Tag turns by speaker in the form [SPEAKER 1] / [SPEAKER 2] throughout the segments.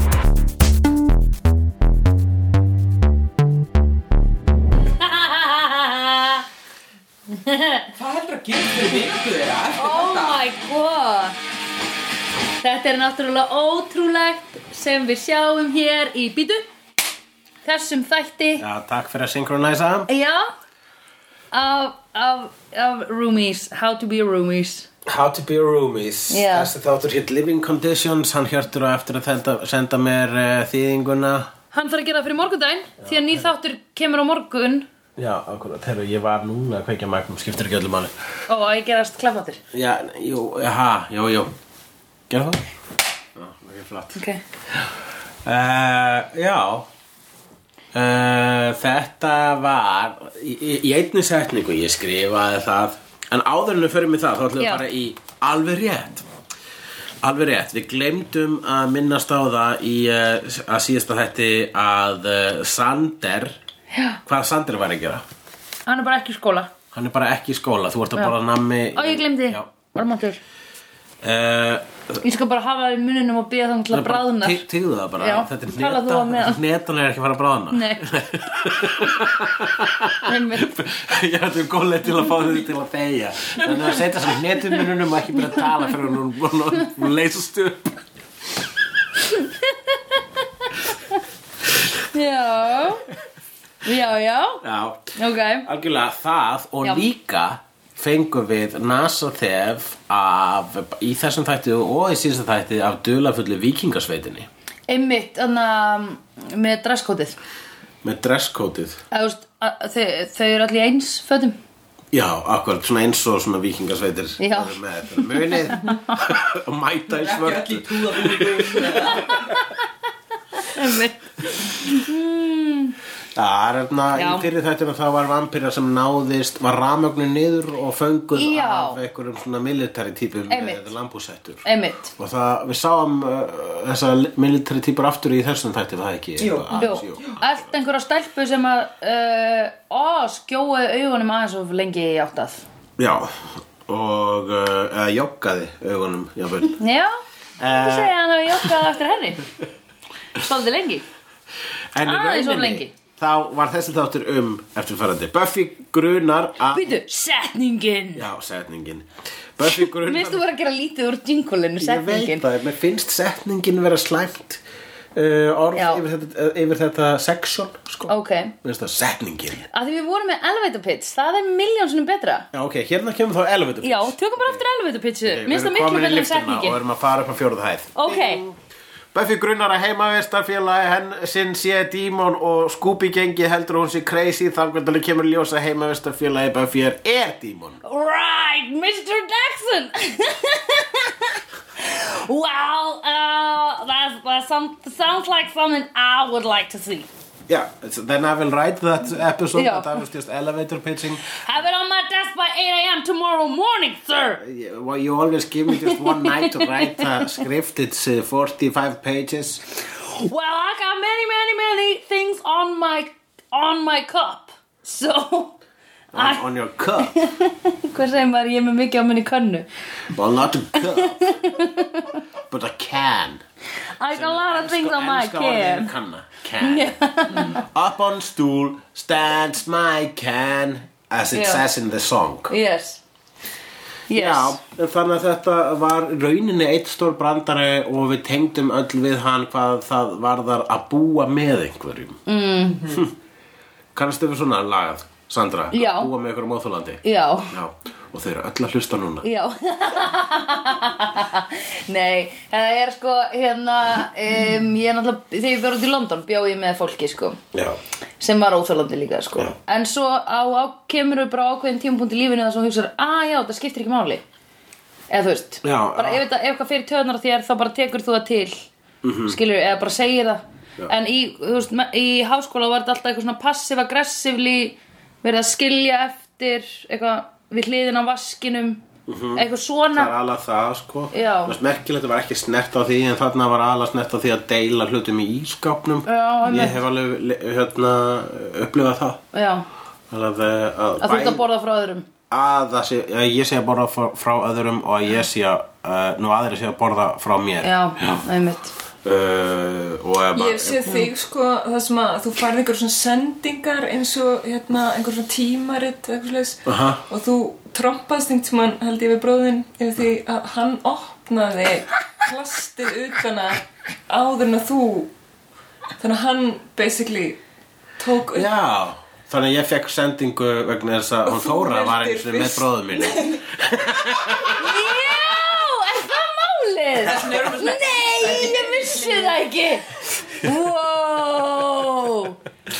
[SPEAKER 1] Oh Þetta er náttúrulega ótrúlegt sem við sjáum hér í bítu Þessum þætti
[SPEAKER 2] Já, takk fyrir að synkronæsa
[SPEAKER 1] Já Af, af, af roomies How to be a roomies
[SPEAKER 2] How to be a roomies
[SPEAKER 1] Já.
[SPEAKER 2] Þessi þáttur hitt Living Conditions Hann hjörtur á eftir að senda, senda mér uh, þýðinguna
[SPEAKER 1] Hann þarf að gera það fyrir morgundaginn Því að nýr þáttur kemur á morgun
[SPEAKER 2] Já, akkurat, þegar ég var núna að kveikja magnum Skiptir ekki öllu máli
[SPEAKER 1] Ó, að ég gerast klappháttur
[SPEAKER 2] Já, jú, ha, jú, jú Gerðu það? Já, það er flott
[SPEAKER 1] Ok
[SPEAKER 2] Uh, já uh, Þetta var í, í- í einni setningu ég skrifaði það en áður en við förum í það þá ætlum við
[SPEAKER 1] Já.
[SPEAKER 2] að fara í alveg rétt Alveg rétt, við glemdum að minnast á það í uh, að síðasta þetta að uh, Sander
[SPEAKER 1] Já.
[SPEAKER 2] hvað Sander var að gera?
[SPEAKER 1] Hann er bara ekki í skóla
[SPEAKER 2] Hann er bara ekki í skóla, þú ert að bara nammi
[SPEAKER 1] Ó, ég glemdi
[SPEAKER 2] Já.
[SPEAKER 1] Varmáttur
[SPEAKER 2] Uh,
[SPEAKER 1] Ég skal bara hafa það í muninum og býða þannig til að bráðna
[SPEAKER 2] Týðu það bara,
[SPEAKER 1] Já,
[SPEAKER 2] þetta er
[SPEAKER 1] tala þú á meðan.
[SPEAKER 2] netan er ekki að fara að bráðna
[SPEAKER 1] Nei Einmitt.
[SPEAKER 2] ég ætti um góðlega til að fá þau til að þegja þannig að setja sem hnetumunum og ekki byrja að tala fyrir hún, hún, hún, hún leysast upp
[SPEAKER 1] Já Já, já
[SPEAKER 2] já,
[SPEAKER 1] Ok
[SPEAKER 2] algjörlega það og
[SPEAKER 1] Já.
[SPEAKER 2] líka fengum við NASA þef af, í þessum þætti og í síðasta þætti af dulafullu vikingasveitinni
[SPEAKER 1] Einmitt, þannig með dresskótið
[SPEAKER 2] með dresskótið
[SPEAKER 1] Eða, þú veist, að- þau, þau eru allir eins fötum
[SPEAKER 2] já, akkurat, svona eins og svona vikingasveitir
[SPEAKER 1] Já.
[SPEAKER 2] eru með þetta munið og mæta í svörtu
[SPEAKER 1] Einmitt
[SPEAKER 2] Það er hérna, í
[SPEAKER 1] Já.
[SPEAKER 2] fyrir þetta þá var vampýra sem náðist, var ramögnu niður og fönguð
[SPEAKER 1] Já.
[SPEAKER 2] af einhverjum svona military típum eh,
[SPEAKER 1] Einmitt.
[SPEAKER 2] með lambúsettur.
[SPEAKER 1] Einmitt
[SPEAKER 2] Og það, við sáum uh, þessa military típur aftur í þessum þætti, var það ekki?
[SPEAKER 3] Jú.
[SPEAKER 1] Jú,
[SPEAKER 2] Aðeins, jú.
[SPEAKER 1] allt einhverja stelpu sem að uh, ó, skjóaði augunum aðeins of lengi í áttað
[SPEAKER 2] Já, og uh, eða joggaði augunum, jáfnvel.
[SPEAKER 1] Já,
[SPEAKER 2] Eh.
[SPEAKER 1] þú segja hann að jókað eftir henni Svolítið lengi
[SPEAKER 2] En í
[SPEAKER 1] Aðeins of
[SPEAKER 2] rauninni,
[SPEAKER 1] lengi.
[SPEAKER 2] Þá var þessi þáttur um eftirfarandi. Buffy grunar að...
[SPEAKER 1] Býtu, setningin
[SPEAKER 2] Já, setningin. Buffy grunar...
[SPEAKER 1] Minnst þú vera að gera lítið úr djingulinu,
[SPEAKER 2] Ég veit
[SPEAKER 1] setningin
[SPEAKER 2] það, mér finnst setningin vera slæmt uh, orð
[SPEAKER 1] Já.
[SPEAKER 2] yfir þetta, uh, yfir þetta section sko.
[SPEAKER 1] Ok,
[SPEAKER 2] Mér finnst það setningin
[SPEAKER 1] að því við vorum með elevator pitch Það er miljónsunum betra
[SPEAKER 2] Já, ok, hérna kemur þá elevator
[SPEAKER 1] Já, tökum bara aftur elevator pitchu
[SPEAKER 2] Við
[SPEAKER 1] Minnst það
[SPEAKER 2] erum
[SPEAKER 1] miklu
[SPEAKER 2] komin í
[SPEAKER 1] velum
[SPEAKER 2] lyftuna Og
[SPEAKER 1] setningin
[SPEAKER 2] erum að fara upp á fjórðu hæð
[SPEAKER 1] Ok,
[SPEAKER 2] Buffy grunnar að heimavistarfélagi henn sinn sé dímon og Scooby gengi heldur að hún sé crazy þar hvernig kemur í ljós að heimavistarfélagi Buffy er, er dímon
[SPEAKER 1] right, Mr. Jackson Well, uh, that, that sound, sounds like something I would like to see
[SPEAKER 2] Já, yeah, then I will write that episode
[SPEAKER 1] Já.
[SPEAKER 2] that I was just elevator pitching
[SPEAKER 1] Have it on my desk by 8am tomorrow morning, sir
[SPEAKER 2] Well, you always give me just one night to write a script it's uh, 45 pages
[SPEAKER 1] Well, I got many, many, many things on my, on my cup So,
[SPEAKER 2] on,
[SPEAKER 1] I-
[SPEAKER 2] on your cup
[SPEAKER 1] hvað segir maður, ég er með mikið á minni könnu
[SPEAKER 2] well not a cup but a can
[SPEAKER 1] I got a lot of things on my
[SPEAKER 2] Enska orðið er
[SPEAKER 1] can
[SPEAKER 2] kanna can up on stool stands my can as it
[SPEAKER 1] Já.
[SPEAKER 2] says in the song
[SPEAKER 1] Yes Yes
[SPEAKER 2] Já, þannig að þetta var í rauninni eitt stór brandari og við tengdum öll við hann hvað það varðar að búa með einhverjum. Mm. Kannast við svona lagað, Sandra?
[SPEAKER 1] Mhm. Já.
[SPEAKER 2] Búa með einhverjum óþólandi.
[SPEAKER 1] Já
[SPEAKER 2] Já, og þau eru öll að hlusta núna.
[SPEAKER 1] Já Nei, það er sko hérna um, ég er náttúrulega, þegar ég var út í London bjó ég með fólki sko
[SPEAKER 2] Já.
[SPEAKER 1] sem var óþjólandi líka sko
[SPEAKER 2] Já.
[SPEAKER 1] en svo á, á kemur við bara á ákveðin tímapunkt í lífinu þar sem þú hugsar, að já, það skiptir ekki máli eða þú veist
[SPEAKER 2] Já,
[SPEAKER 1] bara
[SPEAKER 2] já.
[SPEAKER 1] ef, þetta- ef eitthvað fyrir töðnar þér þá bara tekur þú það til mm skilur, eða bara segir það
[SPEAKER 2] Mhm. Já.
[SPEAKER 1] en í, þú veist, me- í háskóla var þetta alltaf eitthvað svona passiv-aggressivli verið að skilja eftir eitthvað við hliðin á vaskinum
[SPEAKER 2] Mhm.
[SPEAKER 1] eitthvað svona
[SPEAKER 2] Það er alveg það, sko.
[SPEAKER 1] Já.
[SPEAKER 2] Það er merkilegt að var ekki snert á því, en þarna var alveg snert á því að deila hlutum í ískapnum.
[SPEAKER 1] Já, einmitt.
[SPEAKER 2] Ég hef alveg, le- hérna, upplifað það.
[SPEAKER 1] já,
[SPEAKER 2] Alveg að,
[SPEAKER 1] að þú ert að borða frá öðrum
[SPEAKER 2] að það sé, að ég sé að borða frá, frá öðrum og að ég sé að uh, nú aðri sé að borða frá mér
[SPEAKER 1] já, einmitt
[SPEAKER 2] Uh, og ef
[SPEAKER 3] Ég sé þig sko það sem að þú færði einhver svona sendingar eins og hérna einhver svona tímarit eða eitthvað slags
[SPEAKER 2] Aha.
[SPEAKER 3] og þú trompaðst einhvern tímann held ég við bróðin yfir því að hann opnaði plastið utana áður en að þú þannig að hann basically tók upp
[SPEAKER 2] Já, þannig að ég fekk sendingu vegna þess að hún
[SPEAKER 3] þú
[SPEAKER 2] Þóra var
[SPEAKER 3] veltir
[SPEAKER 2] eins og með
[SPEAKER 3] fyrst.
[SPEAKER 2] bróðum minni
[SPEAKER 1] Já, er það málið?
[SPEAKER 3] vegna erum við svona-
[SPEAKER 1] Nei, ég vissi það ekki Wow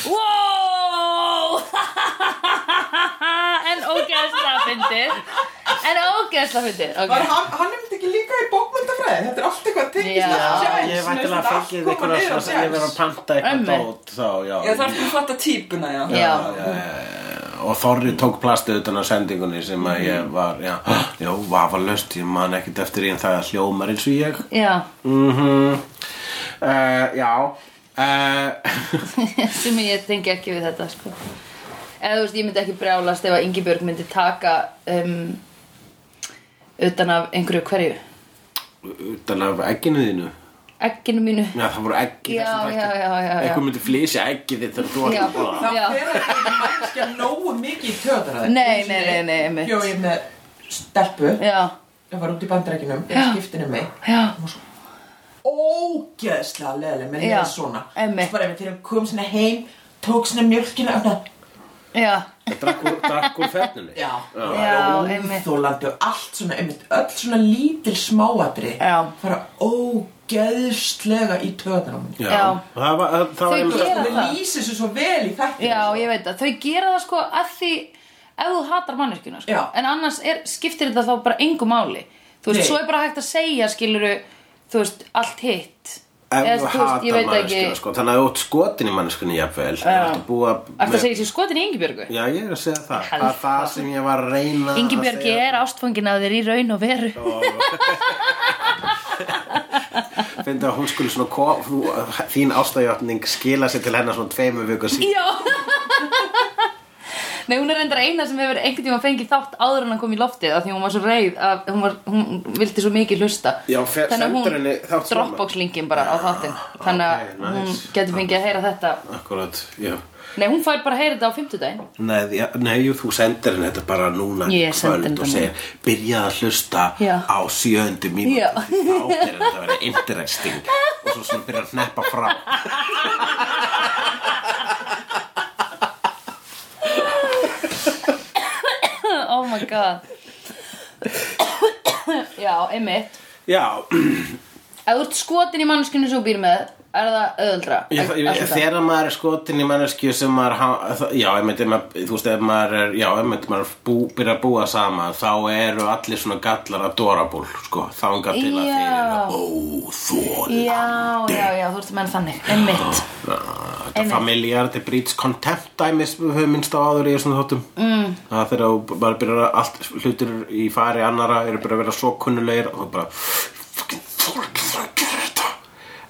[SPEAKER 1] Wow En ógeðsla fyndið En ógeðsla fyndið
[SPEAKER 4] Var
[SPEAKER 1] okay.
[SPEAKER 4] hann, hann er ekki líka í bókmyndafræði? Þetta er allt
[SPEAKER 1] Já.
[SPEAKER 4] eitthvað tengist að sjans.
[SPEAKER 2] Ég veit alveg að fengið ykkur að
[SPEAKER 4] eitthvað
[SPEAKER 2] svo ég verið að panta eitthvað
[SPEAKER 1] Ömmu.
[SPEAKER 2] dót þá, já,
[SPEAKER 3] Já, það er fyrir fatta típuna, já.
[SPEAKER 1] Já,
[SPEAKER 2] Og Þorri tók plastið utan að sendingunni sem að
[SPEAKER 3] Mm.
[SPEAKER 2] ég var, já, já, vafa löst, ég man ekkert eftir því en það hljómar eins og ég
[SPEAKER 1] já
[SPEAKER 2] mm Já, uh,
[SPEAKER 1] sem ég tengi ekki við þetta sko. eða þú veist, ég myndi ekki brjálast ef að Ingibjörg myndi taka um, utan af einhverju hverju
[SPEAKER 2] utan af egginu þínu
[SPEAKER 1] egginu mínu
[SPEAKER 2] Já, það voru eggi
[SPEAKER 1] Já, já, já, já, já.
[SPEAKER 2] Eitthvað myndi flýsja eggi þitt þegar þú
[SPEAKER 1] Já.
[SPEAKER 2] varst að borða
[SPEAKER 4] Það
[SPEAKER 1] Já.
[SPEAKER 4] fer ekki mannskja nógu mikið í töðræði.
[SPEAKER 1] Nei, nei, nei, nei, einmitt.
[SPEAKER 4] Bjó ég með stelpu,
[SPEAKER 1] já,
[SPEAKER 4] ég var út í bandarækjunum,
[SPEAKER 1] Já.
[SPEAKER 4] ég skiptinu mig.
[SPEAKER 1] já,
[SPEAKER 4] Ógeðslega leðileg, menn ég
[SPEAKER 1] Já,
[SPEAKER 4] er svona.
[SPEAKER 1] einmitt.
[SPEAKER 4] Svo bara einmitt þegar hún kom sinna heim, tók sinna mjölkina, öfna,
[SPEAKER 1] já
[SPEAKER 2] Drakk úr, drakk úr fernunni
[SPEAKER 4] já.
[SPEAKER 1] Já, einmitt.
[SPEAKER 4] Þólandi og allt svona, einmitt, öll svona lítil smáatri.
[SPEAKER 1] Já.
[SPEAKER 4] Fara ógeðslega í töðræðinu.
[SPEAKER 2] Já,
[SPEAKER 1] Já.
[SPEAKER 2] það var, það- það var
[SPEAKER 1] Þau
[SPEAKER 2] einmitt-
[SPEAKER 1] gera
[SPEAKER 4] Þau
[SPEAKER 1] það.
[SPEAKER 4] lýsir svo vel í sko. þættinu.
[SPEAKER 1] já, ég veit það, þau gera það sko að því ef þú hatar manneskjuna sko.
[SPEAKER 4] Já.
[SPEAKER 1] en annars er, skiptir þetta þá bara engu máli þú veist,
[SPEAKER 4] Nei.
[SPEAKER 1] svo er bara hægt að segja skiluru, þú veist, allt hitt
[SPEAKER 2] Ef
[SPEAKER 1] Eða,
[SPEAKER 2] þú
[SPEAKER 1] þú veist,
[SPEAKER 2] hatar
[SPEAKER 1] ég veit ekki-
[SPEAKER 2] manneskuna sko, þannig að þú átt skotin í manneskunni jafnvel Það er að búa
[SPEAKER 1] Ætti að segja sér skotin í Ingibjörgu
[SPEAKER 2] Já, ég er að segja það
[SPEAKER 1] Helvítið.
[SPEAKER 2] Það er það sem ég var að reyna
[SPEAKER 1] Ingibjörg ég er ástfangin að þér í raun og veru
[SPEAKER 2] Fyndi að hún skulle svona ko- þú- Þín ástæðjöfning skila sér til hennar svona tveimur viku síðan
[SPEAKER 1] Já Nei, hún er reyndar eina sem hefur einhvern tíma fengið þátt áður en hann kom í loftið af því hún var svo reið að hún, var, hún vildi svo mikið hlusta
[SPEAKER 2] Já, fer- sendur henni þátt svona.
[SPEAKER 1] Dropbox linkin bara á þáttinn Þannig að
[SPEAKER 2] ok, nice.
[SPEAKER 1] hún getur fengið að heyra þetta
[SPEAKER 2] Akkurat, já
[SPEAKER 1] Nei, hún fær bara að heyra þetta á fimmtudaginn
[SPEAKER 2] Nei, já, nei jú, þú sendir henni þetta bara núna í
[SPEAKER 1] Ég sendi henni
[SPEAKER 2] kvöld og
[SPEAKER 1] þetta
[SPEAKER 2] segir byrjað að hlusta
[SPEAKER 1] Já.
[SPEAKER 2] á sjöundu mínúti
[SPEAKER 1] Já.
[SPEAKER 2] þá byrjar þetta að vera interesting og svo svona byrjar að hneppa frá
[SPEAKER 1] Oh my god Já, einmitt
[SPEAKER 2] Já,
[SPEAKER 1] Ef þú ert skotin í mannskinu sem þú býr með er það öðuldra
[SPEAKER 2] ég, ég, ég, þegar maður er skotin í manneskju sem maður ha- það- já, ég meinti, þú veist, ef maður er já, ef meinti, maður bú, byrjar að búa saman þá eru allir svona gallar adorable sko, þanga til að þeir
[SPEAKER 1] Já.
[SPEAKER 2] eru óþól
[SPEAKER 1] Já, já, já, þú ert að menna þannig Einmitt
[SPEAKER 2] Þetta
[SPEAKER 1] Einmitt.
[SPEAKER 2] familjarði breeds contempt dæmis við höfum minnst á áður í þessum þáttum mm. það þegar þú bara byrjar að allt hlutir í fari annara eru bara að vera svo kunnulegir og þú bara fucking þorir ekki það að gera þetta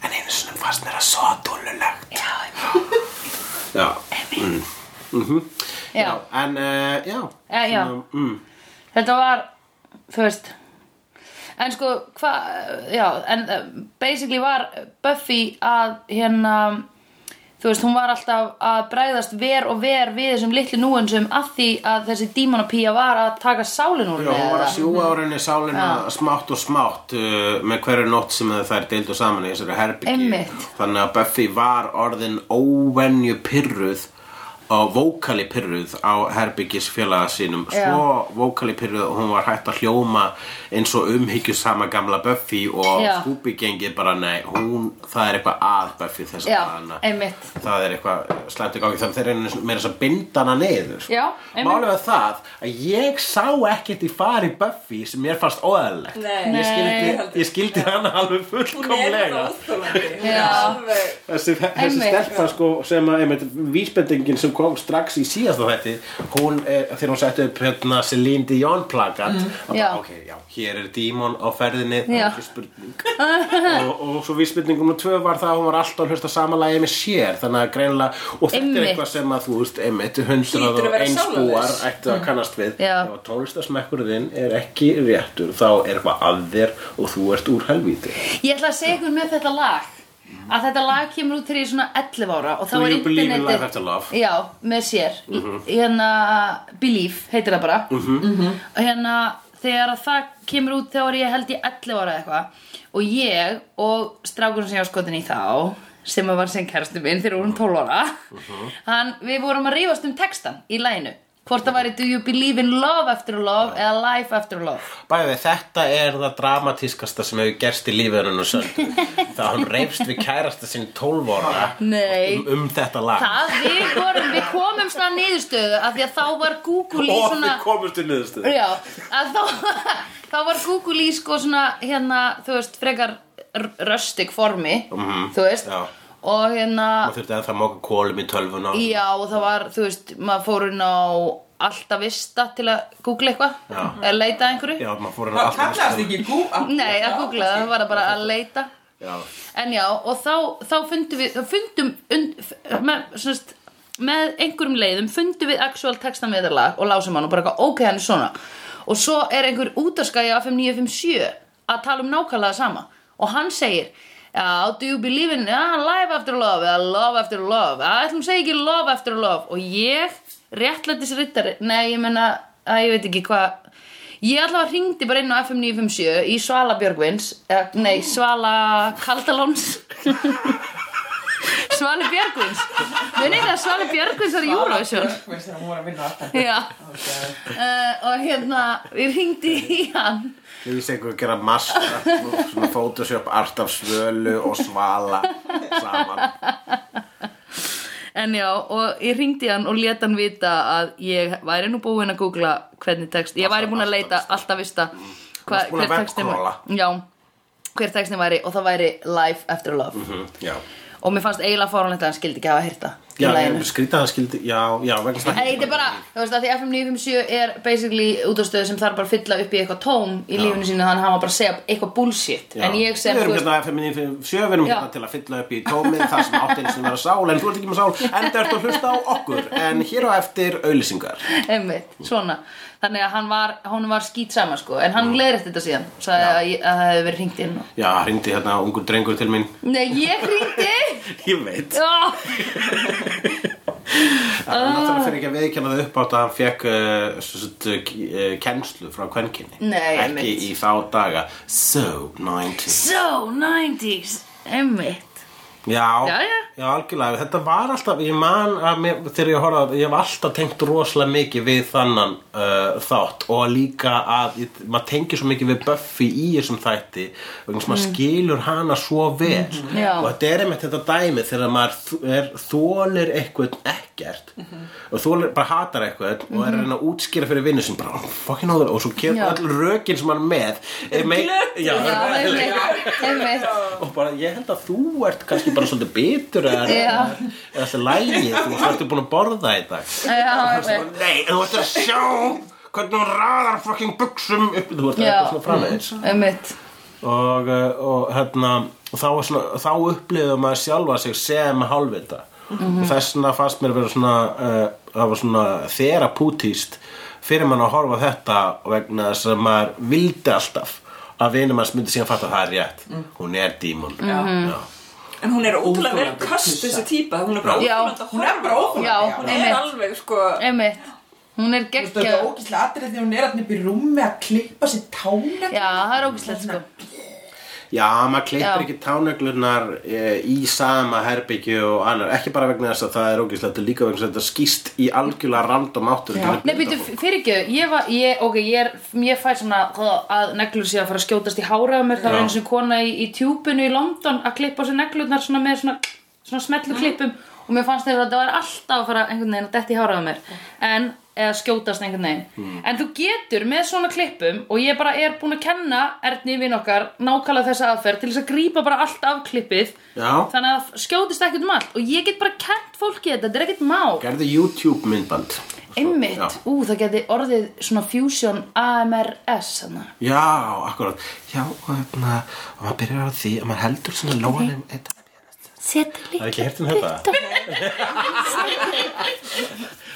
[SPEAKER 2] en einu sinni fannst mér að svo dólulegt
[SPEAKER 1] Já, einmitt
[SPEAKER 2] Já mm. Mm
[SPEAKER 1] Já.
[SPEAKER 2] En uh, já
[SPEAKER 1] Já, já.
[SPEAKER 2] Svona, mm.
[SPEAKER 1] Þetta var, þú veist En sko, hvað Já, en eh, basically var Buffy að hérna Þú veist, hún var alltaf að bregðast ver og ver við þessum litlu núensum af því að þessi dímonapía var að taka sálin úr
[SPEAKER 2] Já, hún var að
[SPEAKER 1] það.
[SPEAKER 2] sjúga á henni sálina smátt og smátt uh, með hverju nótt sem þær deildu saman í þessari herbyggi
[SPEAKER 1] Einmitt.
[SPEAKER 2] þannig að Buffy var orðin óvenju pyrruð og vókali pyrruð á herbyggis félaga sínum
[SPEAKER 1] Já.
[SPEAKER 2] svo vókali pyrruð og hún var hægt að hljóma eins og umhyggjusama gamla Buffy og
[SPEAKER 1] Já.
[SPEAKER 2] Scooby gengið bara nei, hún, það er eitthvað að Buffy þess
[SPEAKER 1] Já,
[SPEAKER 2] dagana.
[SPEAKER 1] einmitt.
[SPEAKER 2] það er eitthvað slæmt í gangi þannig þeir eru meira þess að binda hana neyður
[SPEAKER 1] Já, einmitt.
[SPEAKER 2] málið var það að ég sá ekkert í fari Buffy sem mér fannst óæðilegt
[SPEAKER 3] Nei.
[SPEAKER 2] ég skildi,
[SPEAKER 3] Nei.
[SPEAKER 2] ég skildi hana alveg
[SPEAKER 3] Hún er hérna
[SPEAKER 2] fullkomlega
[SPEAKER 3] það óþólandi. Hún
[SPEAKER 1] Já.
[SPEAKER 3] er alveg...
[SPEAKER 2] þessi, þessi
[SPEAKER 1] Einmitt.
[SPEAKER 2] stelpa sko sem að einmitt, vísbendingin sem kom strax í síðasta þetta hún, er, þegar hún setti upp hérna Celine Dion plakat mm.
[SPEAKER 1] Já.
[SPEAKER 2] ok, já, hér er dímon á ferðinni það
[SPEAKER 1] Já.
[SPEAKER 2] er ekki spurning og, og svo vísbendingum og tvö var það að hún var alltaf að hlusta samanlægi með sér þannig að greinlega, og þetta er
[SPEAKER 1] Einmitt.
[SPEAKER 2] eitthvað sem að þú veist, einmitt,
[SPEAKER 3] Hlýtur
[SPEAKER 2] hundrað
[SPEAKER 3] að
[SPEAKER 2] og
[SPEAKER 3] vera
[SPEAKER 2] einsbúar
[SPEAKER 3] sálarlaus.
[SPEAKER 2] ættu að kannast við
[SPEAKER 1] Mm. Já.
[SPEAKER 2] ef tónlistasmekkurinn er ekki réttur þá er eitthvað að þér og þú ert úr helvíti
[SPEAKER 1] Ég ætla að segja ykkur með þetta lag að þetta lag kemur út þegar ég er svona 11 ára og þá
[SPEAKER 2] Do
[SPEAKER 1] er
[SPEAKER 2] you believe in
[SPEAKER 1] internetið-
[SPEAKER 2] life after love? Mhm.
[SPEAKER 1] Já, með sér mm hérna Believe heitir það bara mm -hmm. Mhm. og hérna þegar að það kemur út þá er ég held í 11 ára eða eitthvað og ég og strákurinn sem ég var skotin í þá sem að var sem kærastu minn þegar við vorum 12 ára
[SPEAKER 2] Mhm.
[SPEAKER 1] hann, við vorum að rífast um textan í læginu hvort það væri do you believe in love after love eða life after love
[SPEAKER 2] Bæði, þetta er það dramatískasta sem hefur gerst í lífiðurinn og sönd Það hann reyfst við kærasta sinni 12 ára
[SPEAKER 1] Nei.
[SPEAKER 2] um, um þetta lag
[SPEAKER 1] það við vorum, við komum svona niðurstöðu af því að þá var Google í
[SPEAKER 2] Og
[SPEAKER 1] svona
[SPEAKER 2] þið komust í niðurstöð
[SPEAKER 1] Já, að þá, þá var Google í sko svona hérna, þú veist, frekar röstig formi, þú veist
[SPEAKER 2] Mhm, já.
[SPEAKER 1] og hérna,
[SPEAKER 2] Það þurfti að það móka kólum í tölvuna
[SPEAKER 1] já, og það var þú veist, maður fór inn á alltaf vista til að googla eitthvað
[SPEAKER 2] Já.
[SPEAKER 1] eða leita að einhverju
[SPEAKER 2] Já, maður fór hann
[SPEAKER 4] Það
[SPEAKER 2] alltaf að
[SPEAKER 4] kallast
[SPEAKER 2] skrifa.
[SPEAKER 4] ekki Google
[SPEAKER 1] Nei, að googla, það var bara að leita
[SPEAKER 2] Já,
[SPEAKER 1] En já, og þá, þá fundum við, þá fundum und, f- með, semst, með einhverjum leiðum fundum við actual textan við lag og lásum hann og bara eitthvað, ok, hann er svona og svo er einhver útaskæja á 5957 að tala um nákvæmlega sama og hann segir Já, do you believe in ah, life after love eða love after love Það ætlum segi ekki love after love og ég réttlættis rittari Nei, ég meina, að ég veit ekki hvað Ég allavega hringdi bara inn á FM 957 í Svala Björgvins, eh, nei, Svala Kaldalóns. Svali Björgvins. Munið þið að Svali Björgvins er í Eurovision?
[SPEAKER 4] Veist það, hún var að vinna alltaf
[SPEAKER 1] Já, uh, og hérna, ég hringdi í hann.
[SPEAKER 2] ég vissi einhver að gera massa svona Photoshop art af svölu og svala saman
[SPEAKER 1] En já, og ég hringdi hann og let hann vita að ég væri nú búin að googla hvernig text, ég væri búin að leita alltaf vista hva,
[SPEAKER 2] varst búin að webcrawla.
[SPEAKER 1] væri, já, hver textin væri og það væri Life After Love
[SPEAKER 2] Mhm, Já,
[SPEAKER 1] og mér fannst eiginlega fórhóðanlegt að hann skildi ekki hafa hýrta í
[SPEAKER 2] já
[SPEAKER 1] læginu.
[SPEAKER 2] ég skrýta það skildi Já, já, vegna þess
[SPEAKER 1] Nei, þetta er bara, þú veist að því FM 957 er basically útastöðu sem þarf bara að fylla upp í eitthvað tóm í lífinu sínu þannig að hann var bara að segja eitthvað bullshit
[SPEAKER 2] Já.
[SPEAKER 1] en ég sem,
[SPEAKER 2] Við erum
[SPEAKER 1] þú veist,
[SPEAKER 2] hérna að feminine fyrir sjö, við erum
[SPEAKER 1] Já.
[SPEAKER 2] hérna til að fylla upp í tómið það sem átti eins og vera sál, en þú ert ekki með sál en það ert að hlusta á okkur, en hér á eftir auðlýsingar
[SPEAKER 1] einmitt, svona þannig að hann var, hún var skýt sama sko en hann mm. leiðrætt þetta síðan, sagði að, ég- að það hefði verið hringt inn og...
[SPEAKER 2] Já, hringdi hérna ungur drengur til mín
[SPEAKER 1] Nei, ég hringdi!
[SPEAKER 2] Ég veit
[SPEAKER 1] oh,
[SPEAKER 2] Það
[SPEAKER 1] Ah.
[SPEAKER 2] er náttúrulega fyrir ekki að viðkjanna það upp átt að hann fekk uh, svo sagt, uh, k- uh, kennslu frá kvenkinni
[SPEAKER 1] Nei,
[SPEAKER 2] Ekki
[SPEAKER 1] einmitt.
[SPEAKER 2] í þá daga So 90
[SPEAKER 1] so 90s, einmitt
[SPEAKER 2] Já,
[SPEAKER 1] Já, já.
[SPEAKER 2] algjörlega, þetta var alltaf, ég man að mér, þegar ég horfði á þetta, ég hef alltaf tengt rosalega mikið við þannan uh, þátt og líka að ég, maður tengir svo mikið við Buffy í þessum þætti og eins og maður skilur hana svo vel
[SPEAKER 1] Mm. Mm-hmm. Já.
[SPEAKER 2] og þetta er einmitt þetta dæmi þegar maður þ- er, þólir eitthvað ekkert
[SPEAKER 1] Mm-hmm.
[SPEAKER 2] og þólir, bara hatar eitthvað og er að reyna að útskýra fyrir vinnu sem bara, oh, fucking áður og svo kemur
[SPEAKER 1] Já.
[SPEAKER 2] öll rökin sem hann er með er mei- Já,
[SPEAKER 1] Já, einmitt, einmitt
[SPEAKER 2] og bara ég held að þú ert kannski bara svolítið bitur eða
[SPEAKER 1] Já.
[SPEAKER 2] eða þessi lægi þú ertu búin að borða í dag
[SPEAKER 1] Já, einmitt
[SPEAKER 2] nei, þú ert að sjá hvernig hún raðar fucking buksum upp þú ert
[SPEAKER 1] Já.
[SPEAKER 2] eitthvað svona framvegis
[SPEAKER 1] Einmitt,
[SPEAKER 2] og, uh, og hérna og þá, er svona, þá upplifðu maður sjálfa sig sem hálfvita
[SPEAKER 1] Mhm.
[SPEAKER 2] og þess vegna fannst mér vera svona uh, það var svona þeraputíst fyrir mann að horfa á þetta vegna þess að maður vildi alltaf að vinur maður myndi síðan fatta að það er rétt
[SPEAKER 1] Mm.
[SPEAKER 2] hún er dímon
[SPEAKER 1] Mhm.
[SPEAKER 2] Já.
[SPEAKER 3] En hún er ótrúlega vel
[SPEAKER 4] Óþolandi
[SPEAKER 3] köst
[SPEAKER 4] tussa.
[SPEAKER 3] þessi típa, hún er bara
[SPEAKER 1] Já.
[SPEAKER 3] ótrúlega
[SPEAKER 4] Hún er bara
[SPEAKER 1] já,
[SPEAKER 4] óþolandi, já.
[SPEAKER 3] Hún er
[SPEAKER 1] einmitt,
[SPEAKER 3] alveg sko
[SPEAKER 1] einmitt Hún er
[SPEAKER 4] Þú veist, Þetta er
[SPEAKER 1] geggjöð
[SPEAKER 4] ógíslega atrið þegar hún er alltaf upp í rúmi að klippa sér tána
[SPEAKER 1] Já, það er ógislegt sko
[SPEAKER 2] Já, maður klippir
[SPEAKER 1] Já.
[SPEAKER 2] ekki tánöglunar e, í sama herbyggju og annar, ekki bara vegna þess að það er ógæslega, þetta er líka vegna þess að þetta skýst í algjörlega random áttur.
[SPEAKER 4] Já.
[SPEAKER 1] Nei, býttu, fyrir ekki, ég var, ég, ok, ég er, ég fæ svona það að neglur sé að fara að skjótast í háraða mér, það var
[SPEAKER 2] Já.
[SPEAKER 1] eins og kona í, í tjúpinu í London að klippa á sér neglurnar svona með svona, svona smetlu klippum
[SPEAKER 2] Mm.
[SPEAKER 1] og mér fannst þeirra að það var alltaf að fara einhvern veginn að detti í háraða mér, en, eða skjótast einhvern veginn.
[SPEAKER 2] Mm.
[SPEAKER 1] En þú getur með svona klippum og ég bara er búin að kenna Erni vinn okkar nákvæmlega þessa aðferð til þess að grípa bara allt af klippið,
[SPEAKER 2] Já.
[SPEAKER 1] þannig að það skjótist ekkert um allt og ég get bara kent fólki þetta, þetta er ekkert mál.
[SPEAKER 2] Gerðu YouTube myndband. Svo-
[SPEAKER 1] Einmitt,
[SPEAKER 2] Já.
[SPEAKER 1] ú, það geti orðið svona fusion AMRS hana.
[SPEAKER 2] Já, akkurat. Já, og hérna, og maður byrjar á því að maður heldur svona lóanum.
[SPEAKER 1] Setli
[SPEAKER 2] Það er ekki hirtin þetta?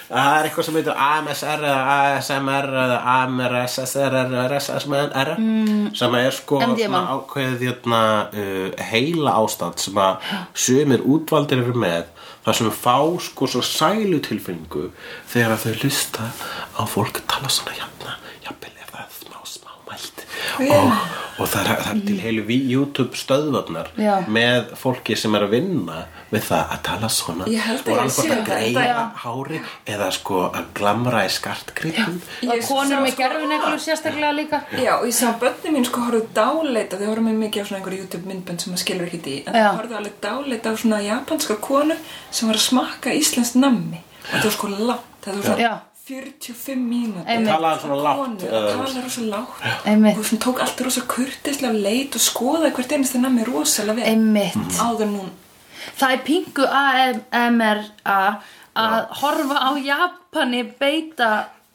[SPEAKER 2] Það er eitthvað sem heitir AMSR eða ASMR eða AMRSSR RSSMR sem er sko
[SPEAKER 1] MDMA.
[SPEAKER 2] svona ákveðið hérna, uh, heila ástand sem að sumir útvaldir eru með þar sem fá sko svo sælu tilfinningu þegar að þau lusta á fólk tala svona hérna jafnvel ef það er smá smá og, og það er, það er til heilu við YouTube stöðvarnar
[SPEAKER 1] Já.
[SPEAKER 2] með fólki sem er að vinna við það að sko, tala svona
[SPEAKER 3] Ég held að
[SPEAKER 2] og
[SPEAKER 3] ég
[SPEAKER 2] annað
[SPEAKER 3] sé
[SPEAKER 2] að
[SPEAKER 3] þetta,
[SPEAKER 2] greiða
[SPEAKER 1] já.
[SPEAKER 2] hári eða sko að glamra í skartgripum
[SPEAKER 1] og
[SPEAKER 3] Ég
[SPEAKER 1] konur
[SPEAKER 3] sá
[SPEAKER 1] með
[SPEAKER 3] sko-
[SPEAKER 1] gerfineglur sérstaklega líka
[SPEAKER 3] Já, og ég sá að börnin mín sko horfðu dáleita, þau horfðu mér mikið á svona einhver YouTube myndbönd sem maður skilur ekki í, en
[SPEAKER 1] Já.
[SPEAKER 3] þau horfðu alveg dáleita á svona japanska konu sem var að smakka íslenskt nammi. Og það var sko langt, það var
[SPEAKER 1] Já.
[SPEAKER 3] svona 45 mínútur.
[SPEAKER 1] Einmitt.
[SPEAKER 2] Talaði svona lágt,
[SPEAKER 3] Konu,
[SPEAKER 2] eða, þú
[SPEAKER 3] talaði rosa lágt.
[SPEAKER 1] Einmitt.
[SPEAKER 3] Og svona tók alltaf rosa kurtislega leit og skoðaði hvert einasta nammi rosalega vel.
[SPEAKER 1] einmitt
[SPEAKER 3] Áður núna.
[SPEAKER 1] það er pingu AMRA að horfa á Japani beita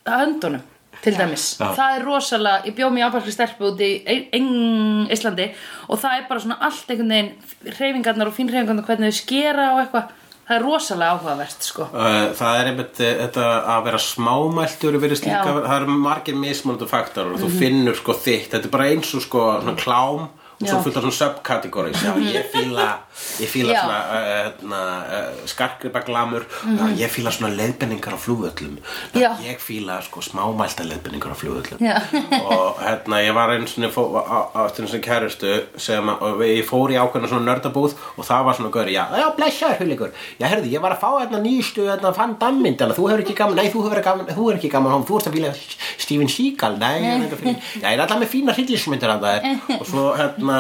[SPEAKER 1] höndunum til dæmis,
[SPEAKER 2] Já.
[SPEAKER 1] það er rosalega ég bjóð mér japanski stelpu út í Eng- Eng- Íslandi og það er bara svona allt einhvern veginn hreyfingarnar og fínhreyfingarnar hvernig þau skera og eitthvað það er rosalega áhugavert sko
[SPEAKER 2] Uh, það er einmitt uh, þetta að vera smámæltur virðist
[SPEAKER 1] Já. Mhm.
[SPEAKER 2] líka, það eru margir mismunandi faktor og þú finnur sko þitt þetta er bara eins og sko svona klám og svo
[SPEAKER 1] Já. Mhm.
[SPEAKER 2] fullt af svona subcategories já, ég fíla, ég fíla
[SPEAKER 1] Já.
[SPEAKER 2] svona uh, hérna, uh, skarkripaglamur já, ég fíla svona leiðbenningar á flugvöllum
[SPEAKER 1] Mhm. Já.
[SPEAKER 2] Já, ég fíla sko smámælta leiðbenningar á flugvöllum
[SPEAKER 1] Já.
[SPEAKER 2] og hérna ég var einu sinni fó, á, á, eftir einu sinni kærustu sem að, og ég fór í ákveðna svona nördabúð og það var svona gauri, já, já, blessaður hulikur já, herði, ég var að fá hérna nýstu hérna fann dammynd, þú hefur ekki gaman, nei, þú hefur gaman þú er ekki gaman, hann, þú ert að fíla Steven Seagal, nei, ég er ekki að fíla já, ég er alltaf með fína hryllismyndir að það er og svo hérna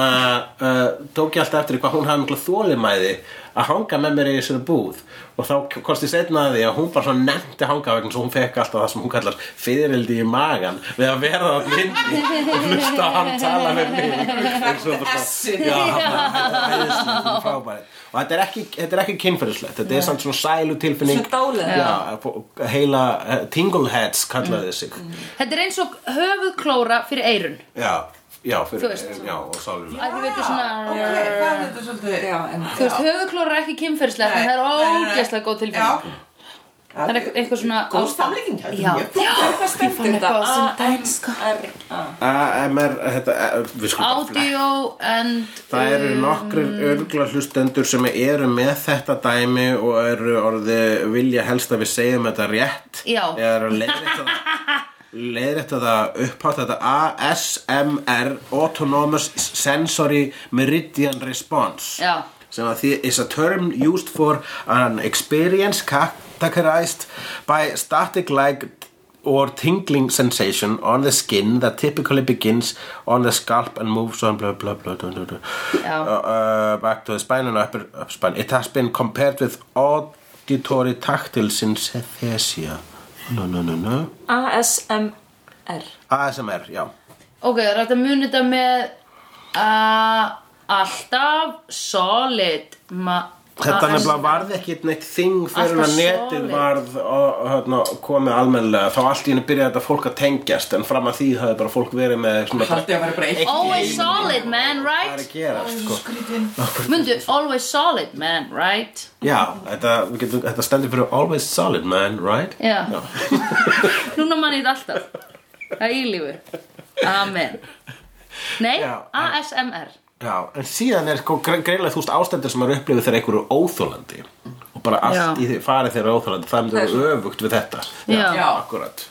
[SPEAKER 2] uh, tók ég alltaf eftir því hvað hún hafði mikla þólimæði að hanga með mér í þessari búð og þá kosti setna að því að hún bara svona nefndi hanga vegna svo hún fekk alltaf það sem hún kallar fyririldi í magan við að vera á linni og hlusta á hann tala með mig eins og bara
[SPEAKER 4] Essið.
[SPEAKER 2] já, þetta er æðislegt, frábært. og þetta er ekki, þetta er ekki kynferðislegt þetta er samt svona sælu tilfinning
[SPEAKER 3] Svona dáleiðara.
[SPEAKER 2] já, fó- heila eh, tingleheads
[SPEAKER 1] Mm.
[SPEAKER 2] kallaði þið sig
[SPEAKER 1] þetta er eins og höfuðklóra fyrir eirun
[SPEAKER 2] já, já,
[SPEAKER 1] Þú
[SPEAKER 2] fyrir,
[SPEAKER 1] veist.
[SPEAKER 2] já, og sálulega
[SPEAKER 1] að þú veitir svona
[SPEAKER 4] Ok, það er þetta svolítið.
[SPEAKER 3] Já, en
[SPEAKER 1] þú veist, höfuðklóra er ekki kynferðislega en það er ógeðslega góð tilfinning
[SPEAKER 4] Já.
[SPEAKER 1] það er eitthvað- eitthvað svona
[SPEAKER 4] Góð samlíking, þetta er
[SPEAKER 1] Já.
[SPEAKER 4] mjög flott.
[SPEAKER 3] hvað stendur þetta?
[SPEAKER 1] eitthvað sem dæmi, sko.
[SPEAKER 3] A-M-R-A.
[SPEAKER 2] AMR, þetta, eh, við skulum bara fletta.
[SPEAKER 1] audio and
[SPEAKER 2] Það eru nokkrir örgla hlustendur sem eru með þetta dæmi og eru orðið vilja helst að við segjum þetta rétt
[SPEAKER 1] Já.
[SPEAKER 2] eða eru leiðrætt að það upphátt þetta ASMR Autonomous Sensory Meridian Response
[SPEAKER 1] Já.
[SPEAKER 2] sem að því is a term used for an experience characterized by static like or tingling sensation on the skin that typically begins on the scalp and moves on blah blah blah, blah, blah, blah.
[SPEAKER 1] Já.
[SPEAKER 2] Uh, uh, back to the spine and upper, upper spine it has been compared with auditory tactile synesthesia no no no no
[SPEAKER 3] A-S-M-R.
[SPEAKER 2] ASMR, já
[SPEAKER 1] uh, ok, það er hægt að muni þetta með uh, alltaf solid ma uh,
[SPEAKER 2] Þetta nefnilega varð ekkit neitt þing fyrir
[SPEAKER 1] Alltaf
[SPEAKER 2] að netið
[SPEAKER 1] solid.
[SPEAKER 2] varð og, hérna, komið almennilega þá allt í henni byrjaði þetta fólk að tengjast en fram að því hafði bara fólk verið með svona bara,
[SPEAKER 4] Haldið að vera bara eitt.
[SPEAKER 1] always solid man,
[SPEAKER 2] hvað er
[SPEAKER 1] right
[SPEAKER 2] að gerast sko.
[SPEAKER 4] Skrítinn.
[SPEAKER 1] mundu, always solid man, right
[SPEAKER 2] Já, þetta, við getum, þetta stendur fyrir always solid man, right?
[SPEAKER 1] já, núna manni þetta alltaf það er ílífur amen nei,
[SPEAKER 2] Já.
[SPEAKER 1] ASMR
[SPEAKER 2] Já, en síðan er sko gre- greinlega þúst ástendur sem eru upplifið þegar einhverju óþólandi og bara allt
[SPEAKER 1] Já.
[SPEAKER 2] í því farið þeirra óþólandi það myndi
[SPEAKER 3] Það er
[SPEAKER 2] vera öfugt við þetta
[SPEAKER 1] Já. Ah.
[SPEAKER 4] Já.
[SPEAKER 2] akkurat